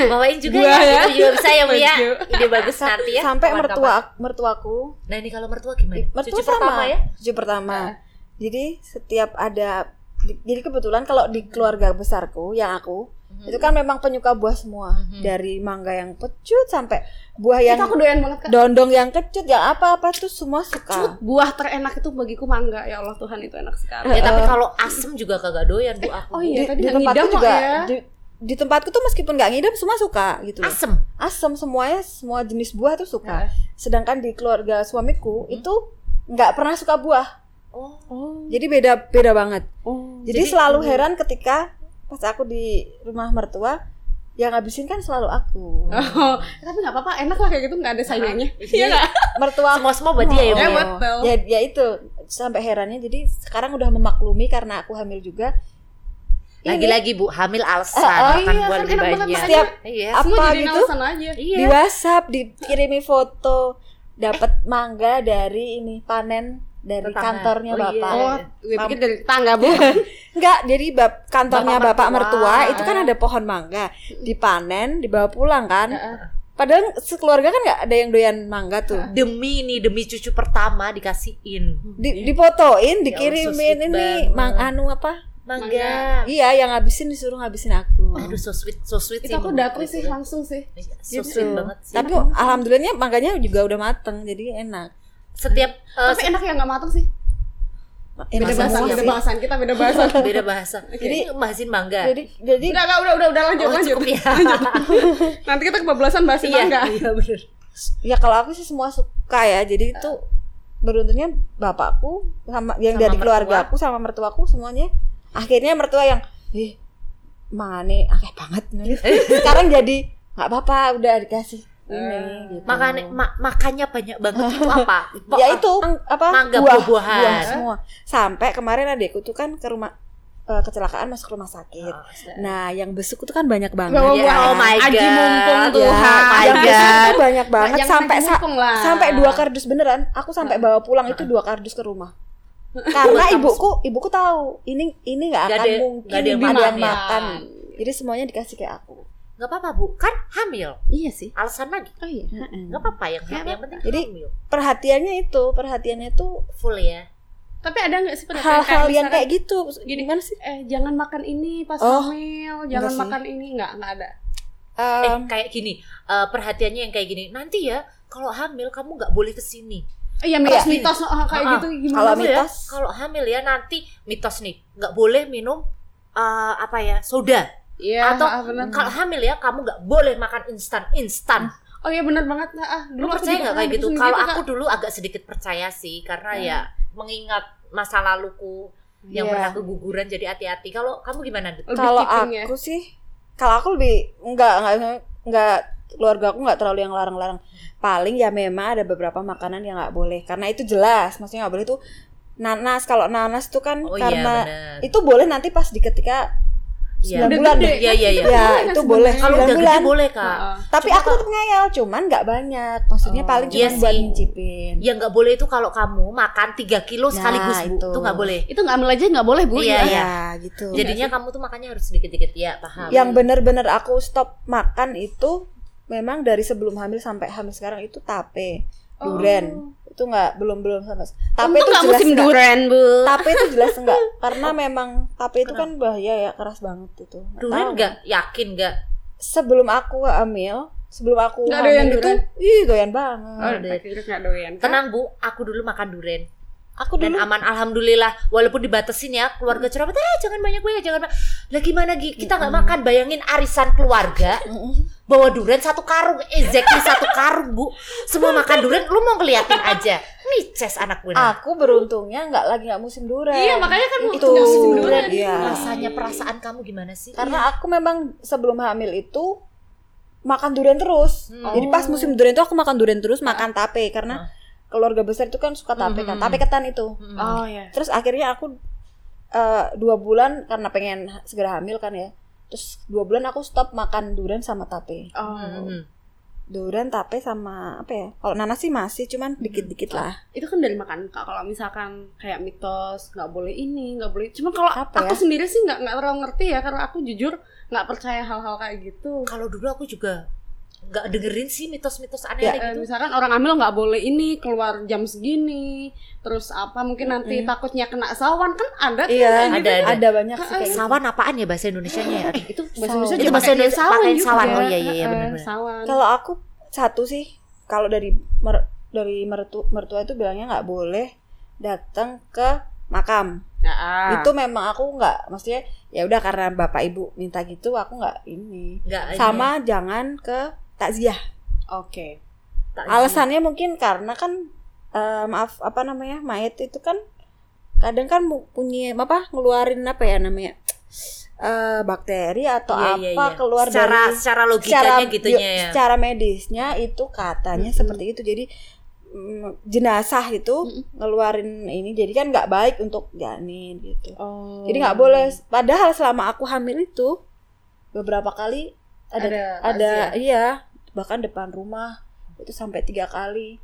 Bawain juga Buah ya. ya. Itu juga bisa ya, Bu ya. Setuju. Ide bagus nanti ya. sampai kapan-kapan. mertua mertuaku Nah, ini kalau mertua gimana? mertua Cucu sama pertama ya. cucu pertama Nah. jadi setiap ada di- jadi kebetulan kalau di keluarga besarku yang aku Hmm. itu Hmm. kan memang penyuka buah semua Mhm. dari mangga yang pecut sampai buah yang Itu aku doyan banget Kak. Ah. dondong yang kecut yang apa apa tuh semua suka Buah terenak itu bagiku mangga. Ya Allah Tuhan itu enak Ya sekali. tapi Eh, kalau asem juga kagak doyan Bu aku. kan, Oh iya, di, tadi di nggak tempatku ngidam kok juga ya. di, di tempatku tuh meskipun nggak ngidam semua suka gitu loh. Asem. asem semuanya semua jenis buah tuh Ya. Nah. suka sedangkan di keluarga suamiku Hmm. itu nggak pernah suka buah Oh. Oh. jadi beda beda banget Oh. jadi, Jadi- hmm. selalu heran ketika pas aku di rumah mertua yang ngabisin kan selalu aku Oh, tapi nggak apa-apa, enak lah kayak gitu nggak ada saingannya. Iya nggak? mertua Semua-semua buat dia ya, Bu. Ya, ya? buat- betul. ya, ya itu sampai herannya jadi sekarang udah memaklumi karena aku hamil juga Lagi-lagi Bu, hamil alasan Ah, ah, makan iya, buah kan lebih enak banget banyak. setiap Iya. Apa Semua jadi gitu? alasan aja. di Iya. WhatsApp dikirimi foto dapat mangga dari ini panen dari Tetangga. kantornya Oh, iya. bapak Oh, gue Mam- pikir dari tangga bu. Enggak, jadi bab kantornya Bapak bapak, mertua, mertua. itu kan ada pohon mangga, dipanen, dibawa pulang kan. Heeh. Padahal sekeluarga kan nggak ada yang doyan mangga tuh. Demi nih, demi cucu pertama dikasihin. Iya. Di, Ya, dipotoin, so dikirimin sweet ini banget. mang anu apa? Mangga. Iya, yang ngabisin disuruh ngabisin aku. Aduh, so sweet, so sweet sih itu aku menurutku dapet itu sih Eh, ya. langsung sih. So Gitu. sweet banget sih. Tapi alhamdulillahnya mangganya juga udah mateng, jadi enak. setiap eh, Tapi enak ya nggak matang sih. Enak Beda semua bahasan, beda sih. bahasan kita beda bahasan. beda bahasa. Jadi bahasin mangga. Jadi jadi Udah, udah, udah, udah, udah lanjut, Oh, lanjut. cukup ya. Nanti kita kebablasan bahas Iya, tangga. iya benar. ya kalau aku sih semua suka ya. Jadi itu beruntungnya bapakku sama yang Sama dari mertua. keluarga aku sama mertuaku semuanya akhirnya mertua yang ih mangane akeh banget nulis." sekarang jadi nggak apa-apa udah dikasih Eh, ini gitu. Makanya ma- makannya banyak banget itu apa? Po- ya itu mang- apa Mangga, buah-buahan. buah semua sampai kemarin adikku tuh kan ke rumah eh, kecelakaan masuk rumah sakit nah yang besuk tuh kan banyak banget Bawa Iya, oh my Aji God. mumpung Ya, Tuhan. my yang God. besuk tuh banyak banget Yang sampai aji sa- mumpung lah. sampai Ah. dua kardus beneran aku sampai bawa pulang itu dua kardus ke rumah Buat karena kamu ibuku ibuku tahu ini ini nggak Nggak akan ada- mungkin nggak ada yang dia makan, ya. makan jadi semuanya dikasih kayak aku Gak apa-apa bu, kan hamil. Iya sih. Alasan lagi, Oh iya. gak apa-apa yang Nggak hamil. Yang penting Jadi- hamil. perhatiannya itu perhatiannya tuh Full ya. Tapi ada nggak sih perasaan hal-hal yang misalkan, kayak gitu gini kan sih? Eh jangan makan ini pas Oh, hamil, jangan sih. makan ini nggak nggak ada. Eh, Um, kayak gini, eh, perhatiannya yang kayak gini. Nanti ya, kalau hamil kamu gak boleh kesini. Eh, Iya mitos-mitos oh, kayak Ah, gitu gimana? Kalau Kamu ya, mitos. kalau hamil ya nanti mitos nih, gak boleh minum eh, apa ya soda. Iya, Atau ah, bener. kalau hamil ya kamu gak boleh makan instan instan. Oh iya benar banget. Nah, ah, Lu aku percaya juga nggak pernah kayak gitu? disuruh Kalau Kak. aku dulu agak sedikit percaya sih, karena ya mengingat masa laluku Hmm. Iya. yang Hmm, pernah keguguran jadi hati-hati. Kalau kamu gimana? Dut? lebih kalau keeping ya. aku sih kalau aku lebih nggak nggak nggak keluarga aku nggak terlalu yang larang-larang paling ya memang ada beberapa makanan yang nggak boleh karena itu jelas maksudnya nggak boleh tuh nanas kalau nanas tuh kan Oh karena iya benar. itu boleh nanti pas di ketika Iya. sembilan Udah bulan gede, Iya, iya, kan? iya. Ya, kan itu sebenarnya? boleh. Kalau Sembilan udah gede bulan. boleh kak. Ah, ah. tapi Cuma aku tetap ngeyel cuman nggak banyak maksudnya Oh. paling cuma Iya buat sih. nyicipin Yang Ya, nggak boleh itu kalau kamu makan 3 kilo Hmm. Nah, sekaligus bu, itu. itu nggak boleh. Itu ngambil aja nggak boleh bu. Iya, ya, iya. gitu Jadinya kamu tuh makannya harus sedikit-sedikit ya paham. yang bener-bener aku stop makan itu memang dari sebelum hamil sampai hamil sekarang itu tape Oh. duren itu nggak belum belum sama Tapi tape itu itu nggak jelas musim nggak- duren bu. tape itu jelas enggak karena memang tape itu kan bahaya ya keras banget itu Nggak Durian tahu. nggak yakin nggak? sebelum aku hamil sebelum aku Nggak doyan hamil itu durian? ih doyan banget Oh, akhirnya nggak doyan. Kan? Tenang bu, aku dulu makan durian Iya. aku dan dulu aman alhamdulillah walaupun dibatasin ya keluarga cerewet eh jangan banyak gue ya jangan ba-" lah gimana Gi? kita nggak makan bayangin arisan keluarga bawa durian satu karung exactly satu karung bu semua makan durian lu mau ngeliatin aja nih ces anak gue nih. aku beruntungnya nggak lagi nggak musim durian Iya makanya kan itu nggak musim duren. iya. rasanya perasaan kamu gimana sih karena aku memang sebelum hamil itu makan durian terus Hmm. jadi pas musim durian itu aku makan durian terus makan tape karena keluarga besar itu kan suka tape kan Mhm. tape ketan itu Hmm. Oh iya. terus akhirnya aku eh, dua bulan karena pengen ha- segera hamil kan ya terus dua bulan aku stop makan durian sama tape Hmm. Oh. durian tape sama apa ya kalau nanas sih masih cuman dikit dikit lah Itu kan dari makan Kak. Kalau misalkan kayak mitos nggak boleh ini, nggak boleh. Cuma kalau Apa aku ya? sendiri sih nggak nggak terlalu ngerti ya karena aku jujur nggak percaya hal-hal kayak gitu. Kalau dulu aku juga nggak dengerin sih mitos-mitos Ya, aneh-aneh Eh, gitu. misalkan orang hamil nggak boleh ini keluar jam segini, terus apa mungkin nanti Mm-mm. takutnya kena sawan kan ada tuh iya yang kayak ada, gitu. ada. ada banyak sih kayak gitu. Sawan apaan ya bahasa Indonesianya ya? Aduh, Itu Bahasa Indonesia Itu juga bahasa pakai Indonesia pakai sawan. Oh iya iya iya Eh, eh, benar-benar. Sawan. Kalau aku satu sih, kalau dari mer- dari mertu mertua itu bilangnya nggak boleh datang ke makam. Ya, ah. Itu memang aku nggak, maksudnya ya udah karena bapak ibu minta gitu, aku nggak ini. Nggak ini. Sama jangan ke takziah. Oke. iya. Tak- Alasannya mungkin karena kan eh, maaf apa namanya mayat itu kan kadang kan mu- punya apa ngeluarin apa ya namanya eh, bakteri atau Iya, apa iya, iya. keluar secara, dari secara logikanya gitunya yo- ya. secara medisnya itu katanya Mm-mm. seperti itu jadi mm, jenazah itu Mm-mm. ngeluarin ini jadi kan nggak baik untuk janin gitu Oh. jadi nggak boleh padahal selama aku hamil itu beberapa kali ada ada ada, ya? iya bahkan depan rumah itu sampai tiga kali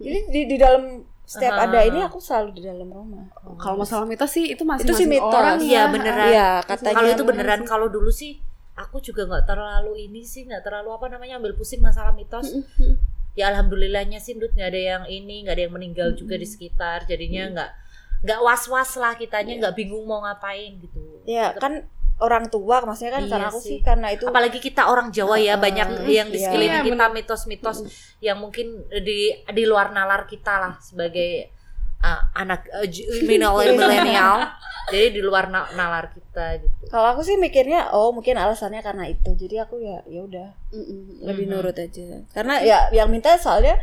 jadi di, di dalam setiap Aha. ada ini aku selalu di dalam rumah kalau masalah mitos sih itu masih itu sih mitos orang Iya, ya. beneran. iya katanya kalau itu bener. beneran kalau dulu sih aku juga nggak terlalu ini sih nggak terlalu apa namanya ambil pusing masalah mitos Mm-mm. ya alhamdulillahnya sih Ndut nggak ada yang ini nggak ada yang meninggal juga di sekitar jadinya nggak nggak was was lah kitanya nggak bingung mau ngapain gitu ya kan orang tua maksudnya kan Iya karena aku sih sih. karena itu apalagi kita orang Jawa gitu. ya Heeh. banyak yang di Iya. sekeliling Iya, kita mitos-mitos yang mungkin di di luar nalar kita lah sebagai uh, anak uh, ju- milenial jadi di luar na- nalar kita gitu Kalau aku sih mikirnya oh mungkin alasannya karena itu. Jadi aku ya ya udah Mm-mm. lebih Mhm. nurut aja. Karena ya yang minta soalnya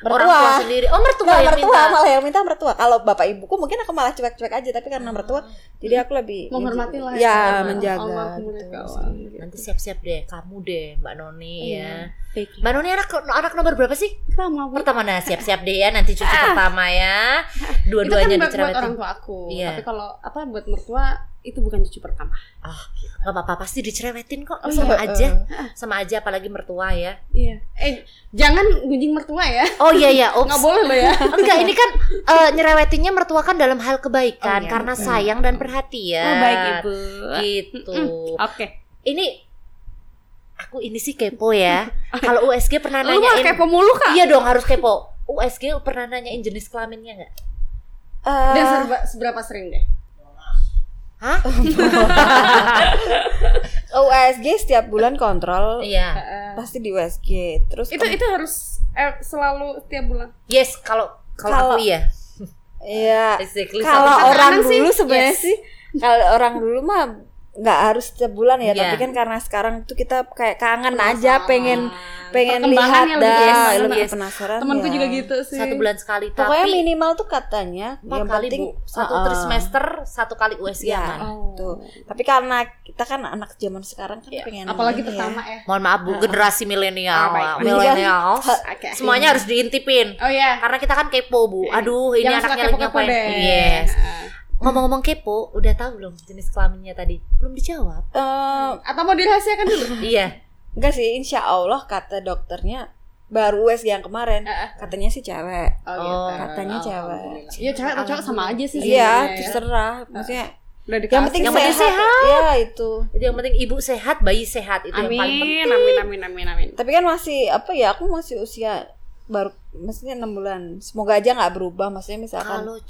orang tua mertua. sendiri oh mertua Nggak, yang mertua minta malah yang minta mertua. Kalau bapak ibuku mungkin aku malah cuek-cuek aja tapi karena Mm-hmm. mertua jadi aku lebih Menghormati lah ya. ya, Sama menjaga. almarhum gitu mereka. sih. nanti siap-siap deh kamu deh Mbak Noni Iya. ya Mbak Noni anak anak nomor berapa sih Pertama Bu. pertama nah siap-siap deh ya nanti cucu pertama ya Ah. itu kan dua-duanya buat, buat orang dicerewetin tua aku. Iya. Tapi kalau apa buat mertua itu bukan cucu pertama. nggak apa-apa pasti dicerewetin kok Oh, sama iya. aja sama aja apalagi mertua ya Iya. Eh, jangan gunjing mertua ya. oh iya ya Nggak boleh lo ya. enggak ini kan eh, nyerewetinnya mertua kan dalam hal kebaikan Oh, iya, karena betul. sayang dan perhatian Oh, baik Ibu. Iya. gitu Oke. ini aku ini sih kepo ya kalau USG pernah Lu mah nanyain kayak pemulu Kak. iya dong harus kepo USG pernah nanyain jenis kelaminnya nggak Eh, Dan serba- seberapa sering deh? hah USG setiap bulan kontrol iya Eh, pasti di USG. Terus itu itu harus eh, selalu setiap bulan. Yes, kalau Kalau- kalau aku iya. Iya. Exactly. Kalau Sama- Kadang-kadang orang sih, dulu sebenarnya yes. sih, kalau orang dulu mah nggak harus setiap bulan ya, tapi Iya. kan karena sekarang tuh kita kayak kangen aja, pengen pengen lihat Perkembangannya lebih dah, yes, lebih yes. penasaran. Temanku ya. juga gitu sih. satu bulan sekali Pokoknya tapi minimal tuh katanya empat yang kali penting bu satu Uh-uh. trimester satu kali USG Iya. aman. Oh. Tuh. Tapi karena kita kan anak zaman sekarang kan Iya. pengen Apalagi ini pertama ya. mohon maaf bu generasi milenial Ah, baik. milenial Oke. semuanya harus diintipin Oh iya. karena kita kan kepo bu aduh ini Jangan Iya. suka anaknya lagi kepo-kepo ngapain deh. yes Heeh. ngomong-ngomong kepo udah tahu belum jenis kelaminnya tadi belum dijawab Eh, Atau mau dirahasiakan dulu? iya enggak sih, insya Allah kata dokternya baru USG yang kemarin Heeh. katanya sih cewek. Oh, katanya cewek. gitu. Alhamdulillah. Iya cewek atau cowok sama aja sih. Iya, sebenarnya ya. terserah. Maksudnya Udah yang penting Yang sehat. penting Ya itu. jadi yang penting ibu sehat bayi sehat itu yang paling penting Amin, amin, amin, amin, amin. tapi kan masih apa ya aku masih usia baru maksudnya enam bulan semoga aja nggak berubah maksudnya misalkan kalau 6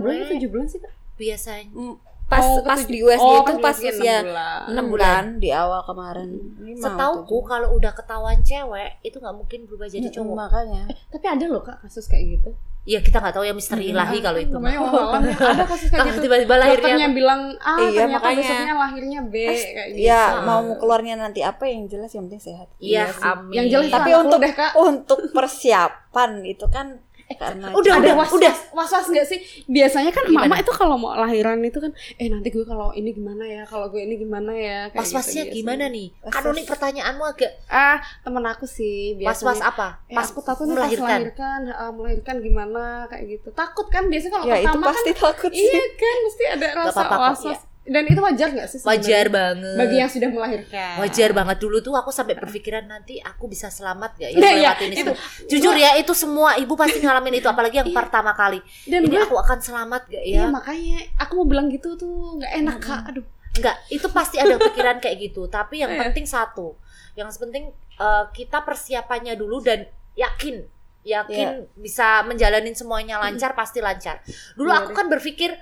bulan atau cewek 7 bulan sih kak? biasanya Mm, pas Oh, pas ketujuh- di USG oh, itu pas ya. ketujuh- usia enam bulan. enam bulan di awal kemarin Ini mau setauku tujuh. kalau udah ketahuan cewek itu nggak mungkin berubah jadi Hmm, Mm, cowok makanya Tapi ada loh kak kasus kayak gitu. ya kita nggak tahu ya misteri ilahi kalau itu Hmm, Namanya wawalan. Ada kasus kayak Ah, gitu. tiba-tiba Dokternya lahirnya bilang ah Iya, ternyata makanya. besoknya lahirnya B kayak gitu. ya Ah. mau keluarnya nanti apa yang jelas yang penting sehat iya sih. amin Yang jelas Tapi anak lu untuk- deh kak. untuk persiapan itu kan Eh, karena Ada udah udah was, udah. udah was was nggak sih biasanya kan Gimana? mama itu kalau mau lahiran itu kan eh nanti gue kalau ini gimana ya kalau gue ini gimana ya kayak Was-wasnya gitu gimana biasanya. nih? Was-was. Kan unik pertanyaanmu agak ah temen aku sih was-was biasanya apa? Eh, Pas aku takut nih pas melahirkan. melahirkan ah, melahirkan gimana kayak gitu takut kan biasanya kalau ya itu pertama kan pasti takut sih iya kan mesti ada rasa apa-apa kok, iya. was was dan itu wajar nggak sih sebenarnya? Wajar banget. bagi yang sudah melahirkan Wajar banget dulu tuh aku sampai berpikiran nanti aku bisa selamat gak ya Nah, iya, melewati ini itu. semua. Jujur ya itu semua ibu pasti ngalamin itu apalagi yang pertama kali. dan Ini gue aku ya. akan selamat gak Iya ya? makanya aku mau bilang gitu tuh nggak enak kak aduh Enggak, itu pasti ada pikiran kayak gitu. Tapi yang Iya. penting satu, yang penting eh, kita persiapannya dulu dan yakin, Iya. yakin bisa menjalanin semuanya lancar pasti lancar. Dulu Iya aku kan berpikir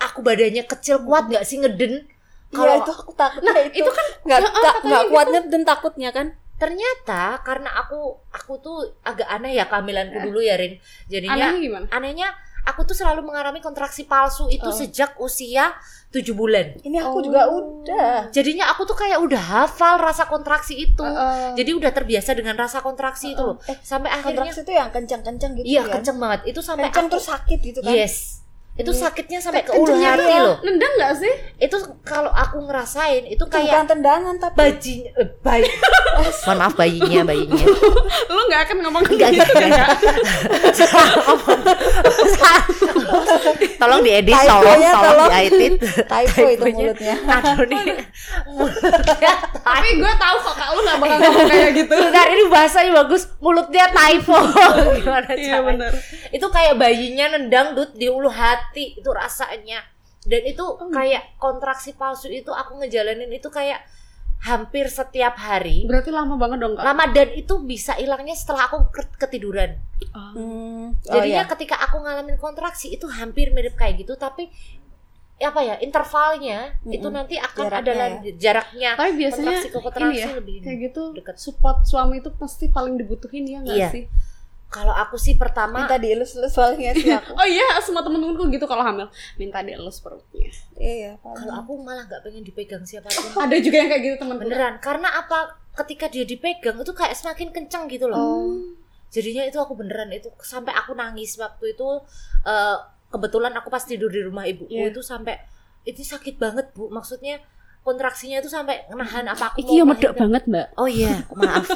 aku badannya kecil kuat nggak sih ngeden? Kalau Iya, itu aku takut Nah, itu, kan nggak Nah, tak- makanya nggak gitu. kuatnya dan takutnya kan ternyata karena aku aku tuh agak aneh ya kehamilanku Iya. dulu ya Rin. Jadinya anehnya gimana anehnya aku tuh selalu mengalami kontraksi palsu itu Oh. sejak usia 7 bulan. ini aku Oh. juga udah Jadinya aku tuh kayak udah hafal rasa kontraksi itu. Heeh. Jadi udah terbiasa dengan rasa kontraksi itu loh. Eh, Sampai akhirnya kontraksi itu yang kencang-kencang gitu iya ya kenceng banget. Itu sampai kencang aku- Iya. terus sakit gitu kan gitu yes. Itu sakitnya sampai ke ulu Kencengnya hati ya? tuh loh. nendang nggak sih Itu kalau aku ngerasain itu kayak kayak kan tendangan tapi bajinya eh, bayi. Mohon maaf bayinya, bayinya. lu nggak akan ngomong Enggak, enggak, enggak. Salah ngomong. Salah. tolong diedit, Typo tolong, ya, tolong tolong. diedit. typo itu Typonya. mulutnya Aduh nih, mulutnya tapi gue tahu kok kak lu nggak bakal ngomong kayak gitu Bentar, ini bahasanya bagus. Mulutnya typo. Iya, Gimana caranya? itu kayak bayinya nendang dut di ulu hati itu rasanya dan itu Hmm. kayak kontraksi palsu itu aku ngejalanin itu kayak hampir setiap hari berarti lama banget dong kak lama dan itu bisa hilangnya setelah aku ke- ketiduran Hmm, oh jadinya iya. ketika aku ngalamin kontraksi itu hampir mirip kayak gitu tapi apa ya intervalnya itu Mm-mm. nanti akan ada ya. Jaraknya lan- jaraknya tapi biasanya kontraksi ke kontraksi ini ya lebih kayak gitu dekat. support suami itu pasti paling dibutuhin ya nggak Iya. sih kalau aku sih pertama minta dielus-elus soalnya sih aku oh iya semua temen-temenku gitu kalau hamil minta dielus perutnya iya paling. kalau aku malah nggak pengen dipegang siapapun ada juga yang kayak gitu temen beneran karena apa ketika dia dipegang itu kayak semakin kencang gitu loh oh jadinya itu aku beneran itu sampai aku nangis waktu itu eh, kebetulan aku pas tidur di rumah ibuku Iya. itu sampai itu sakit banget bu maksudnya kontraksinya itu sampai nahan apa aku Iki ya mau medok melahirkan. banget mbak oh iya maaf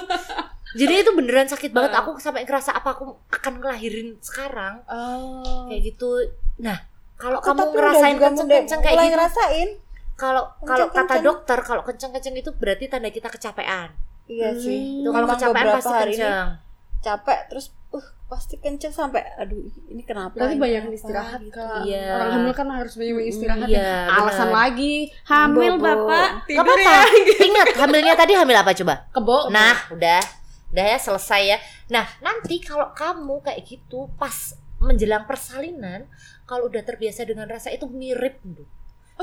jadi itu beneran sakit banget aku sampai ngerasa apa aku akan ngelahirin sekarang oh kayak gitu nah kalau Aku kamu tapi udah Oh, ngerasain juga mulai- kenceng-kenceng kayak mulai gitu ngerasain kalau kalau kata Kenceng-kenceng. dokter kalau kenceng-kenceng itu berarti tanda kita kecapean iya Hmm. sih Itu kalau Memang kecapean beberapa pasti hari ini kenceng. capek terus uh pasti kenceng sampai aduh ini kenapa berarti ini banyak kenapa, istirahat gitu. kak Iya. orang hamil kan harus banyak istirahat Iya, ya. alasan bener. lagi hamil Bobo. bapak Gak tidur apa-apa. ya Ingat hamilnya tadi hamil apa coba? kebo Nah, udah. Udah ya selesai ya. Nah, nanti kalau kamu kayak gitu pas menjelang persalinan, kalau udah terbiasa dengan rasa itu mirip. Bu.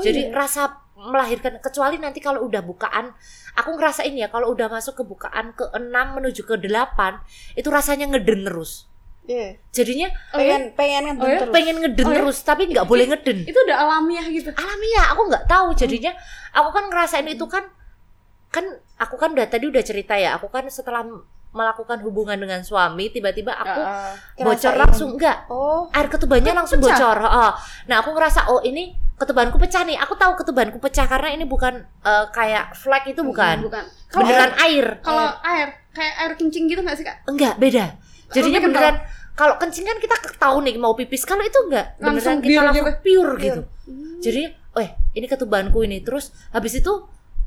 Oh, Jadi iya. rasa melahirkan kecuali nanti kalau udah bukaan, aku ngerasain ya kalau udah masuk ke bukaan ke 6 menuju ke 8, itu rasanya ngeden terus. Iya. Jadinya Oh, iya? pengen pengen kan Oh, iya? terus pengen ngeden Oh, ya? terus, tapi nggak boleh ngeden. itu udah alamiah gitu alamiah aku nggak tahu Hmm. jadinya aku kan ngerasain itu kan kan aku kan udah tadi udah cerita ya aku kan setelah melakukan hubungan dengan suami tiba-tiba aku Heeh. bocor Ngerasain. langsung enggak oh air ketubannya langsung pecah. bocor oh. nah aku ngerasa oh ini ketubanku pecah nih aku tahu ketubanku pecah karena ini bukan eh, kayak flag itu bukan bukan Iya, kalau beneran air kalau air kayak air kencing gitu nggak sih kak enggak beda jadinya Tapi kental. beneran kalau kencing kan kita tahu nih mau pipis kalau itu enggak beneran Langsung kita pure langsung pure gitu Hmm. jadi eh ini ketubanku ini terus habis itu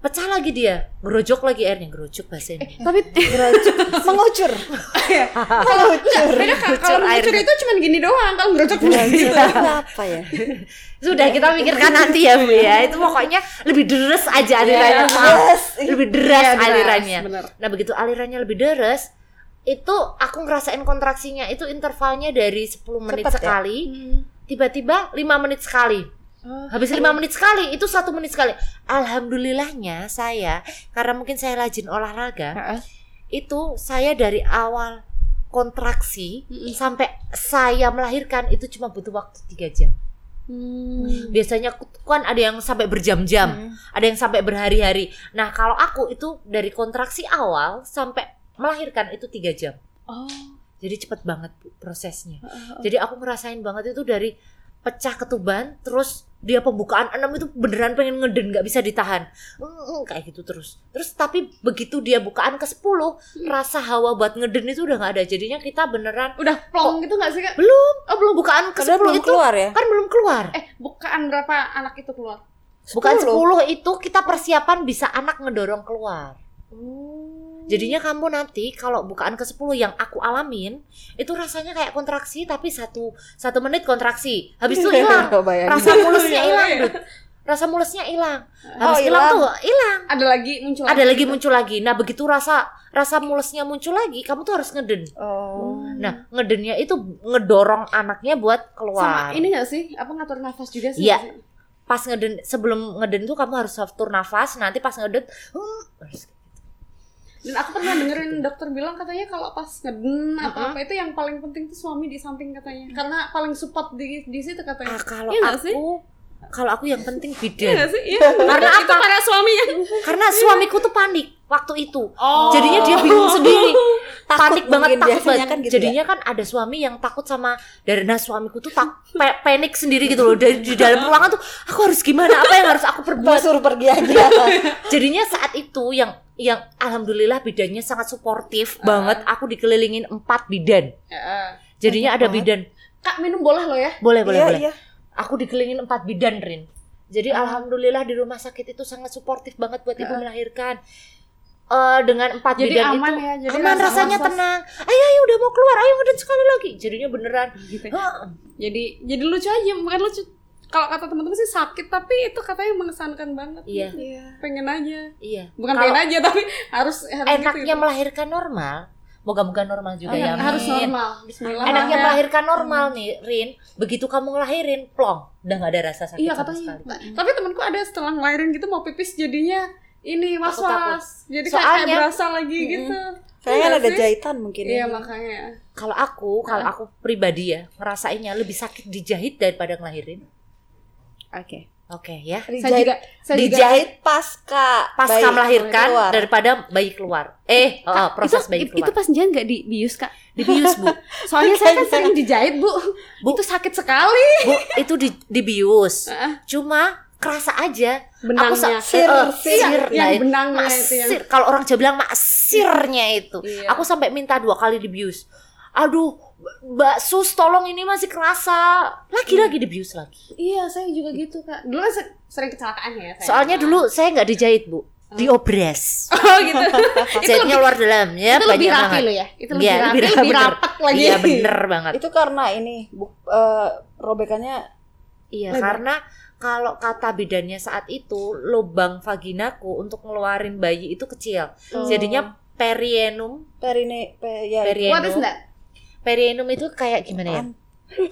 pecah lagi dia gerojok lagi airnya gerojok bahasa ini Eh, tapi gerojuk mengucur kalau enggak beda kak Ngucur Ah. air. kan. kalau Iya, ngucur itu cuman gini doang kalau ngerocok gerojuk apa Iya. ya sudah kita mikirkan nanti ya bu ya itu pokoknya lebih deres aja alirannya Yes. lebih deras Iya, deras, alirannya bener. nah begitu alirannya lebih deres itu aku ngerasain kontraksinya itu intervalnya dari 10 menit Cepet ya? sekali tiba-tiba 5 menit sekali Ah, habis lima Iya. menit sekali itu satu menit sekali alhamdulillahnya saya karena mungkin saya rajin olahraga itu saya dari awal kontraksi Mm-mm. sampai saya melahirkan itu cuma butuh waktu tiga jam. Hmm. Biasanya aku- kan ada yang sampai berjam-jam, Hmm. ada yang sampai berhari-hari. Nah kalau aku itu dari kontraksi awal sampai melahirkan itu tiga jam. Oh. Jadi cepet banget Bu, prosesnya. Jadi aku ngerasain banget itu dari pecah ketuban terus dia pembukaan enam itu beneran pengen ngeden nggak bisa ditahan Mm, kayak gitu terus terus tapi begitu dia bukaan ke 10 Hmm. rasa hawa buat ngeden itu udah nggak ada jadinya kita beneran Udah plong gitu gak sih kak? belum Oh belum buka. bukaan ke Padahal 10 belum itu keluar ya. kan belum keluar Eh bukaan berapa anak itu keluar? bukaan 10. 10 itu kita persiapan bisa anak ngedorong keluar Oh. Jadinya kamu nanti kalau bukaan ke-10 yang aku alamin itu rasanya kayak kontraksi tapi satu satu menit kontraksi. Habis itu hilang. Kok bayangin. Rasa mulusnya Iya, hilang, iya. Dut. Rasa mulusnya hilang. Oh, Habis hilang hilang. tuh hilang. Ada lagi muncul. Ada lagi muncul lagi. Nah, begitu rasa rasa mulusnya muncul lagi, kamu tuh harus ngeden. Oh. Nah, ngedennya itu ngedorong anaknya buat Sama keluar. ini gak sih? Apa ngatur nafas juga sih? Iya. Pas ngeden sebelum ngeden tuh kamu harus atur nafas, nanti pas ngeden hmm, harus- Dan aku pernah dengerin dokter bilang katanya kalau pas ngeden apa apa itu yang paling penting tuh suami di samping katanya. Karena paling support di di situ katanya. ah, kalau Iya nggak sih? aku kalau aku yang penting Iya bidan. gak sih? Iya. Karena itu para suaminya. Karena Iya. suamiku tuh panik waktu itu. Oh. Jadinya dia bingung sendiri. Takut panik banget mungkin takut biasanya banget. kan gitu Jadinya kan ada suami yang takut sama dari nah suamiku tuh tak pe- panik sendiri gitu loh dari di dalam ruangan tuh aku harus gimana apa yang harus aku Gua perbuat. suruh pergi aja. Jadinya saat itu yang yang alhamdulillah bidannya sangat suportif Ah. banget. Aku dikelilingin empat bidan. Heeh. Jadinya ada Banyak bidan. Kak minum boleh lo eh. ya. Boleh Iya, boleh Ah. boleh. iya. Aku dikelilingin empat bidan Rin. Jadi alhamdulillah di rumah sakit itu sangat suportif banget Ah. buat ibu melahirkan. Eh, dengan empat Jadi bidan itu aman ya. Jadi aman rasa- rasanya rasa- tenang. Ayo ayo udah mau keluar, ayo ngeden sekali lagi. Jadinya beneran. Gitu. Heeh. Jadi jadi lucu aja bukan lucu. Kalau kata teman-teman sih sakit tapi itu katanya mengesankan banget. Iya. Pengen aja. Iya. Bukan Kalau pengen aja tapi harus harus gitu, Enaknya gitu. melahirkan normal. Moga-moga normal juga ya. Ah, harus Min. normal. Bismillah. Enaknya Ya. melahirkan normal nih, Rin. Begitu kamu ngelahirin, plong, udah nggak ada rasa sakit Iya sama katanya. sekali. Tapi temanku ada setelah ngelahirin gitu mau pipis jadinya ini was was. Jadi kayak- kayak Soalnya- berasa lagi gitu. Kayaknya Iya ada sih. jahitan mungkin. Iya ya. makanya. Kalau aku, kalau aku pribadi ya, ngerasainnya lebih sakit dijahit daripada ngelahirin. Oke. Oke ya. Saya Dijahit, juga saya juga dijahit pasca Pasca bayi melahirkan keluar. daripada bayi keluar. Eh, oh, oh, proses itu, bayi itu keluar. pas jahit nggak dibius kak Dibius, Bu. soalnya saya kan sering dijahit bu. Bu. itu sakit sekali Bu, itu di dibius. Heeh. Cuma kerasa aja Aku sa- eh, eh, benangnya Sir, sir, Iya, yang nah, benangnya itu yang- maksir. Kalau orang Jawa bilang maksirnya itu. Iya. Aku sampai minta dua kali dibius. Aduh, Mbak Sus tolong ini masih kerasa. Lagi-lagi dibius lagi. iya saya juga gitu kak dulu kan se- sering kecelakaan ya saya. Soalnya dulu saya nggak dijahit, Bu. Diobres. oh gitu Jahitnya luar dalam ya, itu lebih banyak rapi banget. loh ya itu lebih Iya, rapi lebih lebih, rapi, bener. rapat lagi Iya, bener banget. Itu karena ini bu, eh, robekannya Iya, Bener. karena kalau kata bidannya saat itu lubang vaginaku untuk ngeluarin bayi itu kecil. Oh. Jadinya perienum, perine pe, ya, what is perienum. that Perienum itu kayak gimana ya? Apaan?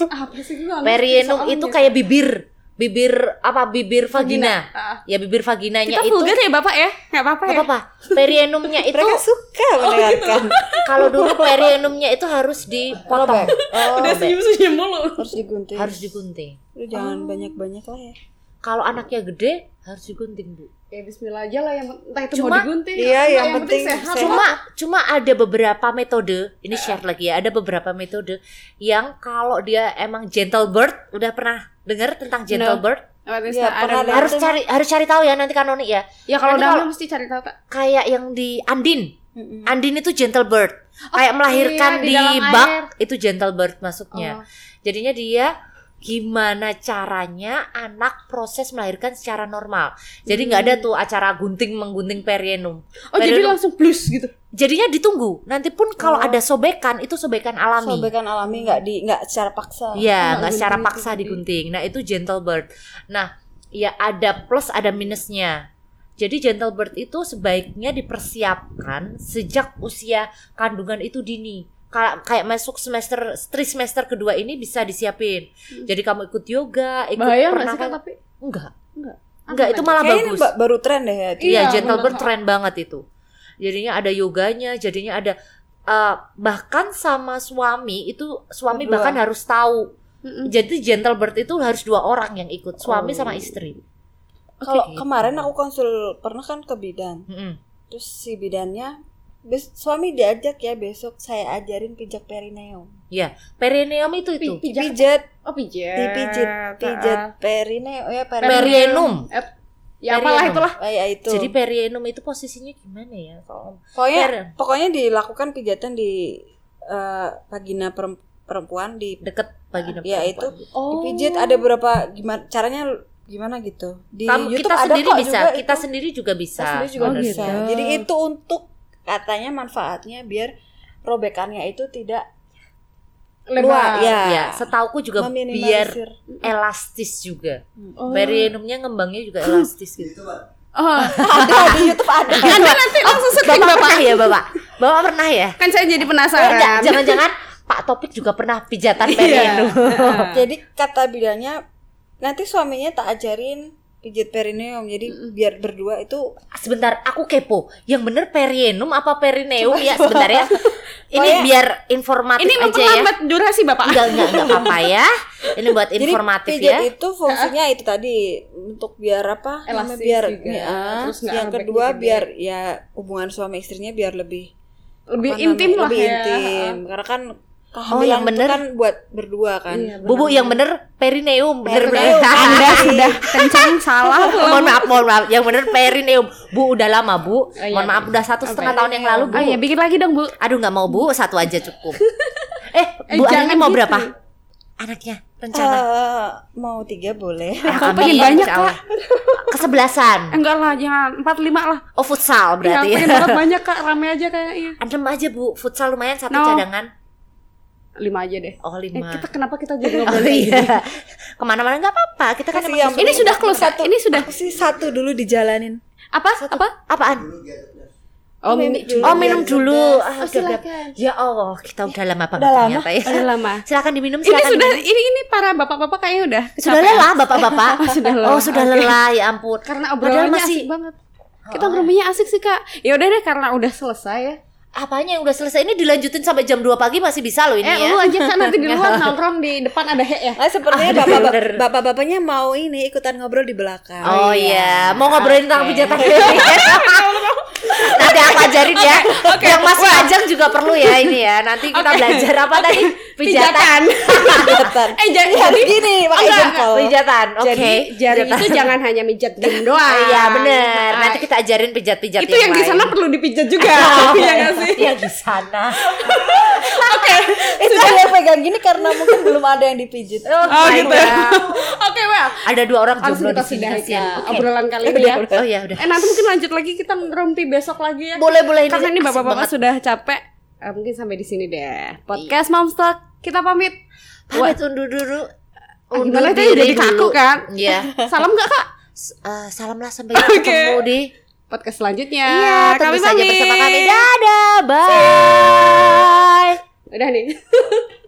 Ah, apa sih gue nggak ngerti Perienum soalnya. gitu. itu kayak bibir, bibir apa bibir vagina. Ah. Ya bibir vaginanya itu kita vulgar ya bapak ya nggak apa-apa Gak ya apa-apa. Perienumnya itu mereka suka mendengarkan kalau dulu perienumnya itu harus dipotong, robek. Oh, udah senyum senyum mulu harus digunting. harus digunting. Lu jangan banyak-banyak lah ya. Kalau anaknya gede harus digunting, Bu. ya Bismillah aja lah yang entah itu Cuma- mau digunting iya, apa, yang penting sehat sehat. Cuma cuma ada beberapa metode, ini share lagi ya, ada beberapa metode yang kalau dia emang gentle birth, udah pernah dengar tentang gentle No. birth? What is Iya, that? I pernah don't know. lihat. Harus cari harus cari tahu ya nanti kanoni ya. ya kalau Nanti udah kalau- mah mesti cari tahu Kak. Kayak yang di Andin. Mm-mm. Hmm. Andin itu gentle birth. Kayak melahirkan iya, di di, dalam bak air. itu gentle birth masuknya. Oh. Jadinya dia gimana caranya anak proses melahirkan secara normal. Jadi nggak Hmm. ada tuh acara gunting menggunting perienum. Oh, jadi Perienum- langsung plus gitu. jadinya ditunggu. Nanti pun kalau Oh. ada sobekan itu sobekan alami. Sobekan alami nggak di nggak secara paksa. Iya, Oh, nggak secara gunting itu paksa tadi. digunting. Nah itu gentle birth. Nah, ya ada plus ada minusnya. Jadi gentle birth itu sebaiknya dipersiapkan sejak usia kandungan itu dini. Ka- Kayak masuk semester trimester kedua ini bisa disiapin. Jadi kamu ikut yoga, ikut Hmm. Bahaya nggak sih pernafasan- Kak, Ah, tapi Enggak, Apa enggak itu lagi? malah Kayaknya ini bagus. ba- baru tren deh ya. itu. Iya, Iya, gentle bener. birth tren banget itu. Jadinya ada yoganya, jadinya ada eh, bahkan sama suami itu suami Berdua. bahkan harus tahu. Hmm. Mm-mm. Jadi gentle birth itu harus dua orang yang ikut, suami Oh. sama istri. Kalau gitu. kemarin aku konsul pernah kan ke bidan. Mm-mm. Terus si bidannya bes- suami diajak ya besok saya ajarin pijak perineum. Ya, perineum itu itu. Pi- pijat. Pijat, Oh pijat. dipijit, pijat perineum ya perineum. Perineum. Eh, ya apalah Perineum. itulah. Oh, ya itu. Jadi perineum itu posisinya gimana ya kalau pokoknya per- pokoknya dilakukan pijatan di eh, vagina perem- perempuan di deket vagina Ya, perempuan gitu. Oh. dipijit ada berapa gimana caranya gimana gitu. Di Kamu- YouTube ada kita sendiri kok bisa, juga kita itu. sendiri juga bisa. Oh, Kita sendiri juga sebenarnya. bisa. gitu. Jadi itu untuk katanya manfaatnya biar robekannya itu tidak Lebar. luar ya, Ya, setauku juga biar meminimalisir. elastis juga. Oh. Perineumnya ngembangnya juga elastis gitu. Kan, Oh. ada di YouTube ada. Anda nanti langsung searching Bapak Bapak. pernah ya, Bapak? Bapak pernah ya? Kan saya Eh, jadi enggak, penasaran. Jangan-jangan Pak Topik juga pernah pijatan Iya. perineum. Nah. Jadi kata bilangnya nanti suaminya tak ajarin pijit perineum. Jadi biar berdua itu Sebentar, aku kepo. Yang bener perineum apa perineum ya sebentar ya. Ini Pokoknya- biar informatif Ini aja ya. memperlambat durasi Bapak. Enggak, enggak, enggak apa-apa ya. Ini buat informatif Jadi pijat ya. itu fungsinya itu tadi untuk biar apa? namanya Elastis biar juga. ya, Terus nggak gitu, yang robeknya kedua gede. biar ya hubungan suami istrinya biar lebih Lebih apa intim namanya, lah lebih ya. Oh, intim. Karena kan kehamilan yang itu bener. kan buat berdua kan. Iya, benar. Bubu yang bener perineum, bener Perineum. bener. Anda eh, sudah kencang salah. mohon maaf, mohon maaf. Yang bener perineum. Bu udah lama, Bu. iya, mohon maaf udah satu setengah tahun yang lalu, Bu. Ah ya bikin lagi dong Bu. Aduh nggak mau Bu, satu aja cukup. eh, Eh, Bu jangan anaknya mau gitu. berapa? Anaknya rencana. Eh, mau tiga boleh. aku pengen Eh, ya, banyak, Kak. Kesebelasan. Eh, Enggak lah, jangan empat lima lah. Oh futsal berarti. Ya Yang pengen banget banyak kak, rame aja kayaknya. Adem aja bu, futsal lumayan satu No. cadangan. Lima aja deh. Oh Eh, lima. kita kenapa kita jadi Oh, ngobrol kayak gini? iya. Kemana-mana nggak apa-apa. Kita kan Kasih emang- yang Ini sudah close Satu. Ini sudah Aku sih satu dulu dijalanin. apa? Apa? apaan? Oh, Minum mimi- dulu. Oh minum Biar dulu. sedas. Ah, Oh, udah, udah. silakan. Ya Allah, kita udah lama banget Udah lama. ternyata ya. Udah lama. Silakan diminum. Ini Silakan sudah diminum. ini ini para bapak-bapak kayaknya udah Sudah kecapean. lelah bapak-bapak. Oh, sudah Oh lelah. sudah Oke. lelah ya ampun. Karena Padahal obrolannya masih Oh. asik banget. Kita obrolannya asik sih kak. Ya udah deh karena udah selesai ya. apanya yang udah selesai ini dilanjutin sampai jam 2 pagi masih bisa loh ini eh ya. lu aja kan nanti di luar nongkrong di depan ada hek ya. Ah, sepertinya Aduh, bapak, bener. bapak bapaknya mau ini ikutan ngobrol di belakang. Oh iya, mau ngobrolin tentang Oke. pijatan ini. nanti aku ajarin ya. yang masih ajang juga perlu ya ini ya. Nanti kita Oke. belajar apa tadi? Pijatan. Pijatan. Pijatan. eh jadi Ini harus gini, pakai Enggak, jempol. Pijatan. Oke. Jadi jari Pijatan. itu jangan hanya mijat gini Oh, doang. iya, bener. Nah, Nanti kita ajarin pijat-pijat itu yang di lain. sana perlu dipijat juga. Oh, Iya nggak sih? Yang di sana. Itu ada yang pegang gini karena mungkin belum ada yang dipijit. Oh my gitu. God. Oke, well. Ada dua orang Langsung jomblo kita di sini. sudahi kasihan. Kak, Oke. obrolan kali ini ya. Udah, udah. Oh iya udah. Eh nanti mungkin lanjut lagi kita ngerumpi besok lagi ya. Boleh boleh Karena ini asik bapak-bapak banget. sudah capek. Iya. Eh, mungkin sampai di sini deh. Podcast Momstock kita pamit. pamit undur dulu. Ah, gimana itu jadi kaku kan? Iya. Salam nggak kak? S- eh, salamlah sampai Oke. ketemu di Podcast selanjutnya. Iya, kami tentu saja bersama kami. pamit. Dadah, bye. Udah nih.